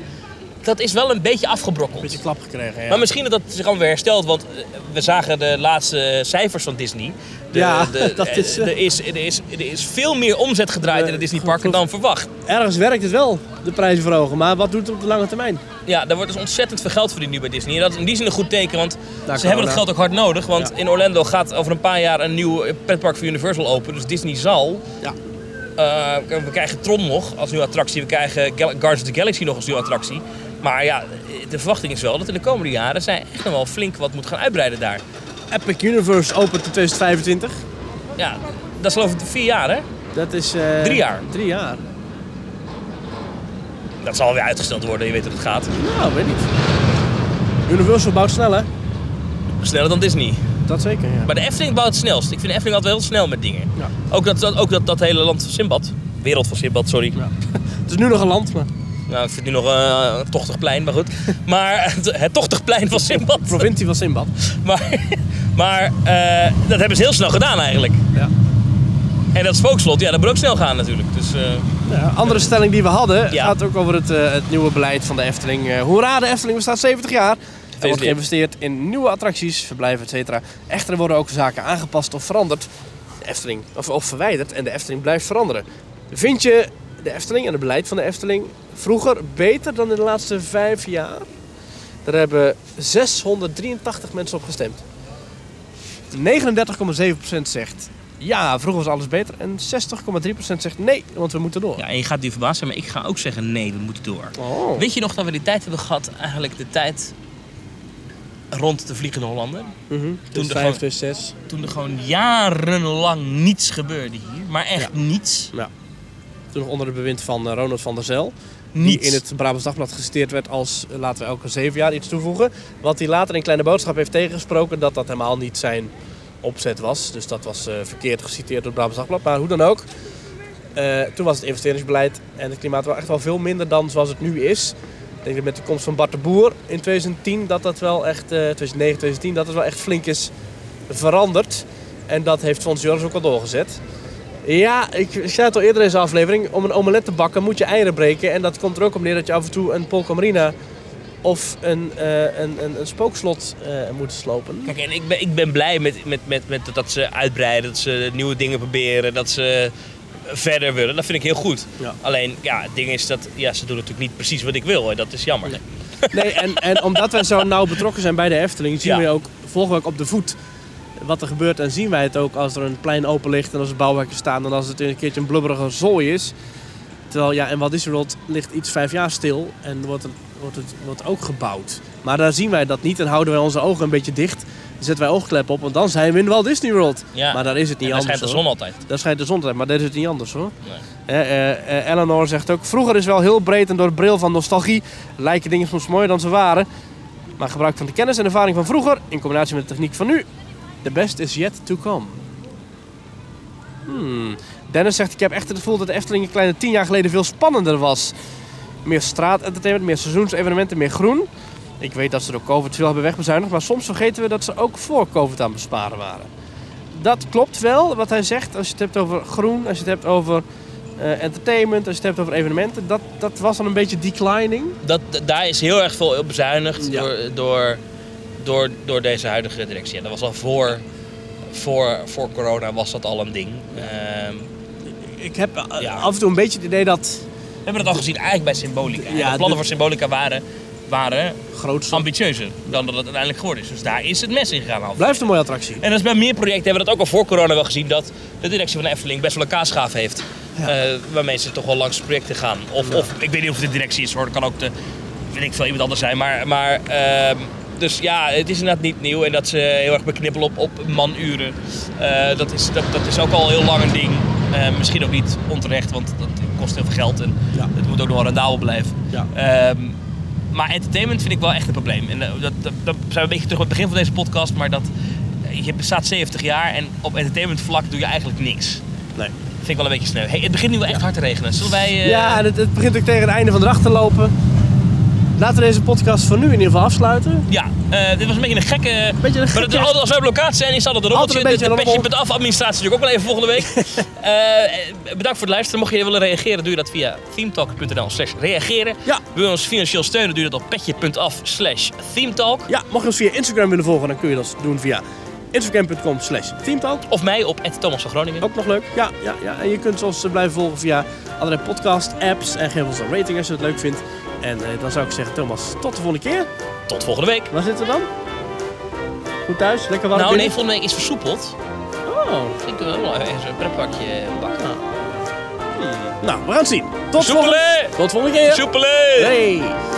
S5: dat is wel een beetje afgebrokkeld.
S2: Beetje klap gekregen, ja.
S5: Maar misschien dat dat zich allemaal weer herstelt, want eh, we zagen de laatste cijfers van Disney. De-
S2: Ja,
S5: de-
S2: (laughs) dat is, eh.
S5: Er is, er, is, er is veel meer omzet gedraaid in
S2: Eh,
S5: het Disneyparken dan verwacht.
S2: Ergens werkt het wel, de prijzen verhogen. Maar wat doet het op de lange termijn?
S5: Ja, daar wordt dus ontzettend veel geld verdiend nu bij Disney. En dat is in die zin een goed teken, want ze
S2: corona.
S5: hebben dat geld ook hard nodig. Want
S2: Ja.
S5: in Orlando gaat over een paar jaar een nieuw eh, pretpark voor Universal open. Dus Disney zal...
S2: Ja.
S5: eh, we krijgen Tron nog als nieuwe attractie. We krijgen Gal- Guardians of the Galaxy nog als nieuwe attractie. Maar ja, eh, de verwachting is wel dat in de komende jaren zij echt nog wel flink wat moet gaan uitbreiden daar.
S2: Epic Universe opent in 2025.
S5: Ja, dat is over vier jaar, hè?
S2: Dat is... eh,
S5: Drie jaar.
S2: Drie jaar.
S5: Dat zal weer uitgesteld worden, je weet hoe het gaat.
S2: Nou, weet niet. Universal bouwt snel, hè?
S5: Sneller dan Disney.
S2: Dat zeker, ja.
S5: Maar de Efteling bouwt het snelst. Ik vind de Efteling altijd heel snel met dingen.
S2: Ja.
S5: Ook, dat, dat, ook dat, dat hele land van Simbad. Wereld van Simbad, sorry.
S2: Het is nu nog een land, maar...
S5: Nou, ik vind nu nog eh, een tochtig plein, maar (laughs) goed. Maar het, het tochtig plein van Simbad.
S2: Provincie van Simbad.
S5: (laughs) Maar, maar eh, dat hebben ze heel snel gedaan eigenlijk.
S2: Ja.
S5: En dat spookslot, ja, dat moet ook snel gaan natuurlijk. Dus eh,
S2: Ja, andere stelling die we hadden
S5: Ja.
S2: gaat ook over het, eh, het nieuwe beleid van de Efteling. Eh, hoera, de Efteling bestaat 70 jaar. Er wordt
S5: Gefeliciteerd.
S2: geïnvesteerd in nieuwe attracties, verblijven, et cetera. Echter worden ook zaken aangepast of veranderd. De Efteling, of, of verwijderd en de Efteling blijft veranderen. Vind je de Efteling en het beleid van de Efteling vroeger beter dan in de laatste vijf jaar? Daar hebben 683 mensen op gestemd. 39,7% zegt ja, vroeger was alles beter. En 60,3% zegt nee, want we moeten door.
S5: Ja, en je gaat nu verbaasd zijn, maar ik ga ook zeggen nee, we moeten door.
S2: Oh.
S5: Weet je nog dat we die tijd hebben gehad, eigenlijk de tijd rond de Vliegende Hollander?
S2: Toen de
S5: Toen de
S2: 5,
S5: gewoon-
S2: dus 6.
S5: Toen er gewoon jarenlang niets gebeurde hier, maar echt niets.
S2: Toen nog onder het bewind van eh, Ronald van der Zel.
S5: Niets.
S2: Die in het Brabants Dagblad gesteerd werd als eh, laten we elke zeven jaar iets toevoegen. Wat hij later in Kleine Boodschap heeft tegengesproken dat dat helemaal niet zijn opzet was. Dus dat was eh, verkeerd geciteerd door het Brabants Dagblad. Maar hoe dan ook. eh, toen was het investeringsbeleid en het klimaat wel echt wel veel minder dan zoals het nu is. Ik denk dat met de komst van Bart de Boer in 2010 dat dat wel echt, eh 2009, 2010, dat het wel echt flink is veranderd. En dat heeft Fons Joris ook al doorgezet. Ja, ik zei het al eerder in deze aflevering. Om een omelet te bakken moet je eieren breken. En dat komt er ook om neer dat je af en toe een polkamarina of een, eh, een, een, een spookslot eh, moet slopen.
S5: Kijk, en ik ben, ik ben blij met, met, met, met dat ze uitbreiden, dat ze nieuwe dingen proberen, dat ze verder willen. Dat vind ik heel goed.
S2: Ja.
S5: Alleen, ja, het ding is dat ja, ze doen natuurlijk niet precies wat ik wil. En dat is jammer.
S2: Nee, en, en omdat wij zo nauw betrokken zijn bij de Efteling, zien
S5: Ja.
S2: we ook, volgen we ook op de voet wat er gebeurt. En zien wij het ook als er een plein open ligt en als er bouwwerken staan en als het een keertje een blubberige zooi is. Terwijl, ja, en Walt Disney World ligt iets vijf jaar stil en wordt, het- wordt het wordt ook gebouwd. Maar daar zien wij dat niet en houden wij onze ogen een beetje dicht. Zetten wij oogklep op, want dan zijn we in Walt Disney World.
S5: Ja.
S2: Maar daar is het niet
S5: En dan
S2: anders.
S5: schijnt de
S2: hoor.
S5: zon altijd.
S2: Daar schijnt de zon te zijn, maar dat is het niet anders hoor. Hè, eh, eh, Eleanor zegt ook, vroeger is wel heel breed en door het bril van nostalgie lijken dingen soms mooier dan ze waren. Maar gebruik van de kennis en ervaring van vroeger, in combinatie met de techniek van nu, the best is yet to come. Hmm. Dennis zegt, ik heb echt het gevoel dat de Efteling een kleine tien jaar geleden veel spannender was. Meer straatentertainment, meer seizoensevenementen, meer groen. Ik weet dat ze door COVID veel hebben wegbezuinigd, maar soms vergeten we dat ze ook voor COVID aan het besparen waren. Dat klopt wel, wat hij zegt. Als je het hebt over groen, als je het hebt over eh, entertainment, als je het hebt over evenementen. Dat, dat was dan een beetje declining.
S5: Dat, d- daar is heel erg veel op bezuinigd
S2: Ja.
S5: door, door, door, door deze huidige directie. En dat was al voor, voor, voor corona was dat al een ding. Ehm,
S2: Ik heb eh,
S5: Ja.
S2: af en toe een beetje het idee dat
S5: we hebben dat al gezien eigenlijk bij Symbolica.
S2: Ja,
S5: de plannen
S2: de-
S5: voor Symbolica waren, waren
S2: groots
S5: ambitieuzer dan dat het uiteindelijk geworden is. Dus daar is het mes in gegaan. halverwege.
S2: blijft een mooie attractie.
S5: En dat is bij meer projecten hebben we dat ook al voor corona wel gezien dat de directie van de Efteling best wel een kaasgaaf heeft. Eh, waarmee ze toch wel langs projecten gaan. Of, of ik weet niet of het de directie is hoor, het kan ook de, weet ik veel, iemand anders zijn. Maar, maar ehm, dus ja, het is inderdaad niet nieuw en dat ze heel erg beknippelen op, op manuren. Eh, dat, is, dat, dat is ook al heel lang een ding. Eh, misschien ook niet onterecht, want dat kost heel veel geld en
S2: Ja.
S5: het moet ook nog wel rendabel blijven.
S2: Ja.
S5: Ehm, maar entertainment vind ik wel echt een probleem. En eh, dat, dat, dat zijn we een beetje terug op het begin van deze podcast, maar dat, eh, je bestaat 70 jaar en op entertainment vlak doe je eigenlijk niks.
S2: Nee.
S5: Vind ik wel een beetje sneu. Hey, het begint nu wel echt hard te regenen. Zullen wij... eh,
S2: Ja, en het, het begint ook tegen het einde van de dag te lopen. Laten we deze podcast voor nu in ieder geval afsluiten.
S5: Ja, eh, dit was een beetje een gekke...
S2: Beetje een
S5: maar
S2: gekke-
S5: het- altijd als wij op locatie zijn, is altijd een
S2: Altijd
S5: rommeltje.
S2: een
S5: De
S2: beetje
S5: de
S2: een
S5: petje
S2: rommel.
S5: met af administratie natuurlijk ook wel even
S2: (laughs)
S5: volgende week. Eh, eh, bedankt voor het luisteren. Mocht je willen reageren, doe je dat via themetalk.nl slash reageren.
S2: Ja.
S5: Wil je ons financieel steunen, doe je dat op petje.af slash themetalk.
S2: Ja, mocht je ons via Instagram willen volgen, dan kun je dat doen via instagram.com slash teamtalk.
S5: Of mij op Thomas van Groningen.
S2: Ook nog leuk. Ja, ja, ja. En je kunt ons eh, blijven volgen via allerlei podcast, apps. En geef ons een rating als je het leuk vindt. En eh, dan zou ik zeggen, Thomas, tot de volgende keer.
S5: Tot volgende week.
S2: Waar zitten we dan? Goed thuis, lekker warm.
S5: Nou nee,
S2: binnen?
S5: volgende week is versoepeld.
S2: Oh.
S5: Ik wil wel eens een pretparkje bakken.
S2: Nou, we gaan het zien. Tot volgende,
S5: Soepelen!
S2: tot volgende keer.
S5: Soepelen!
S2: Hey.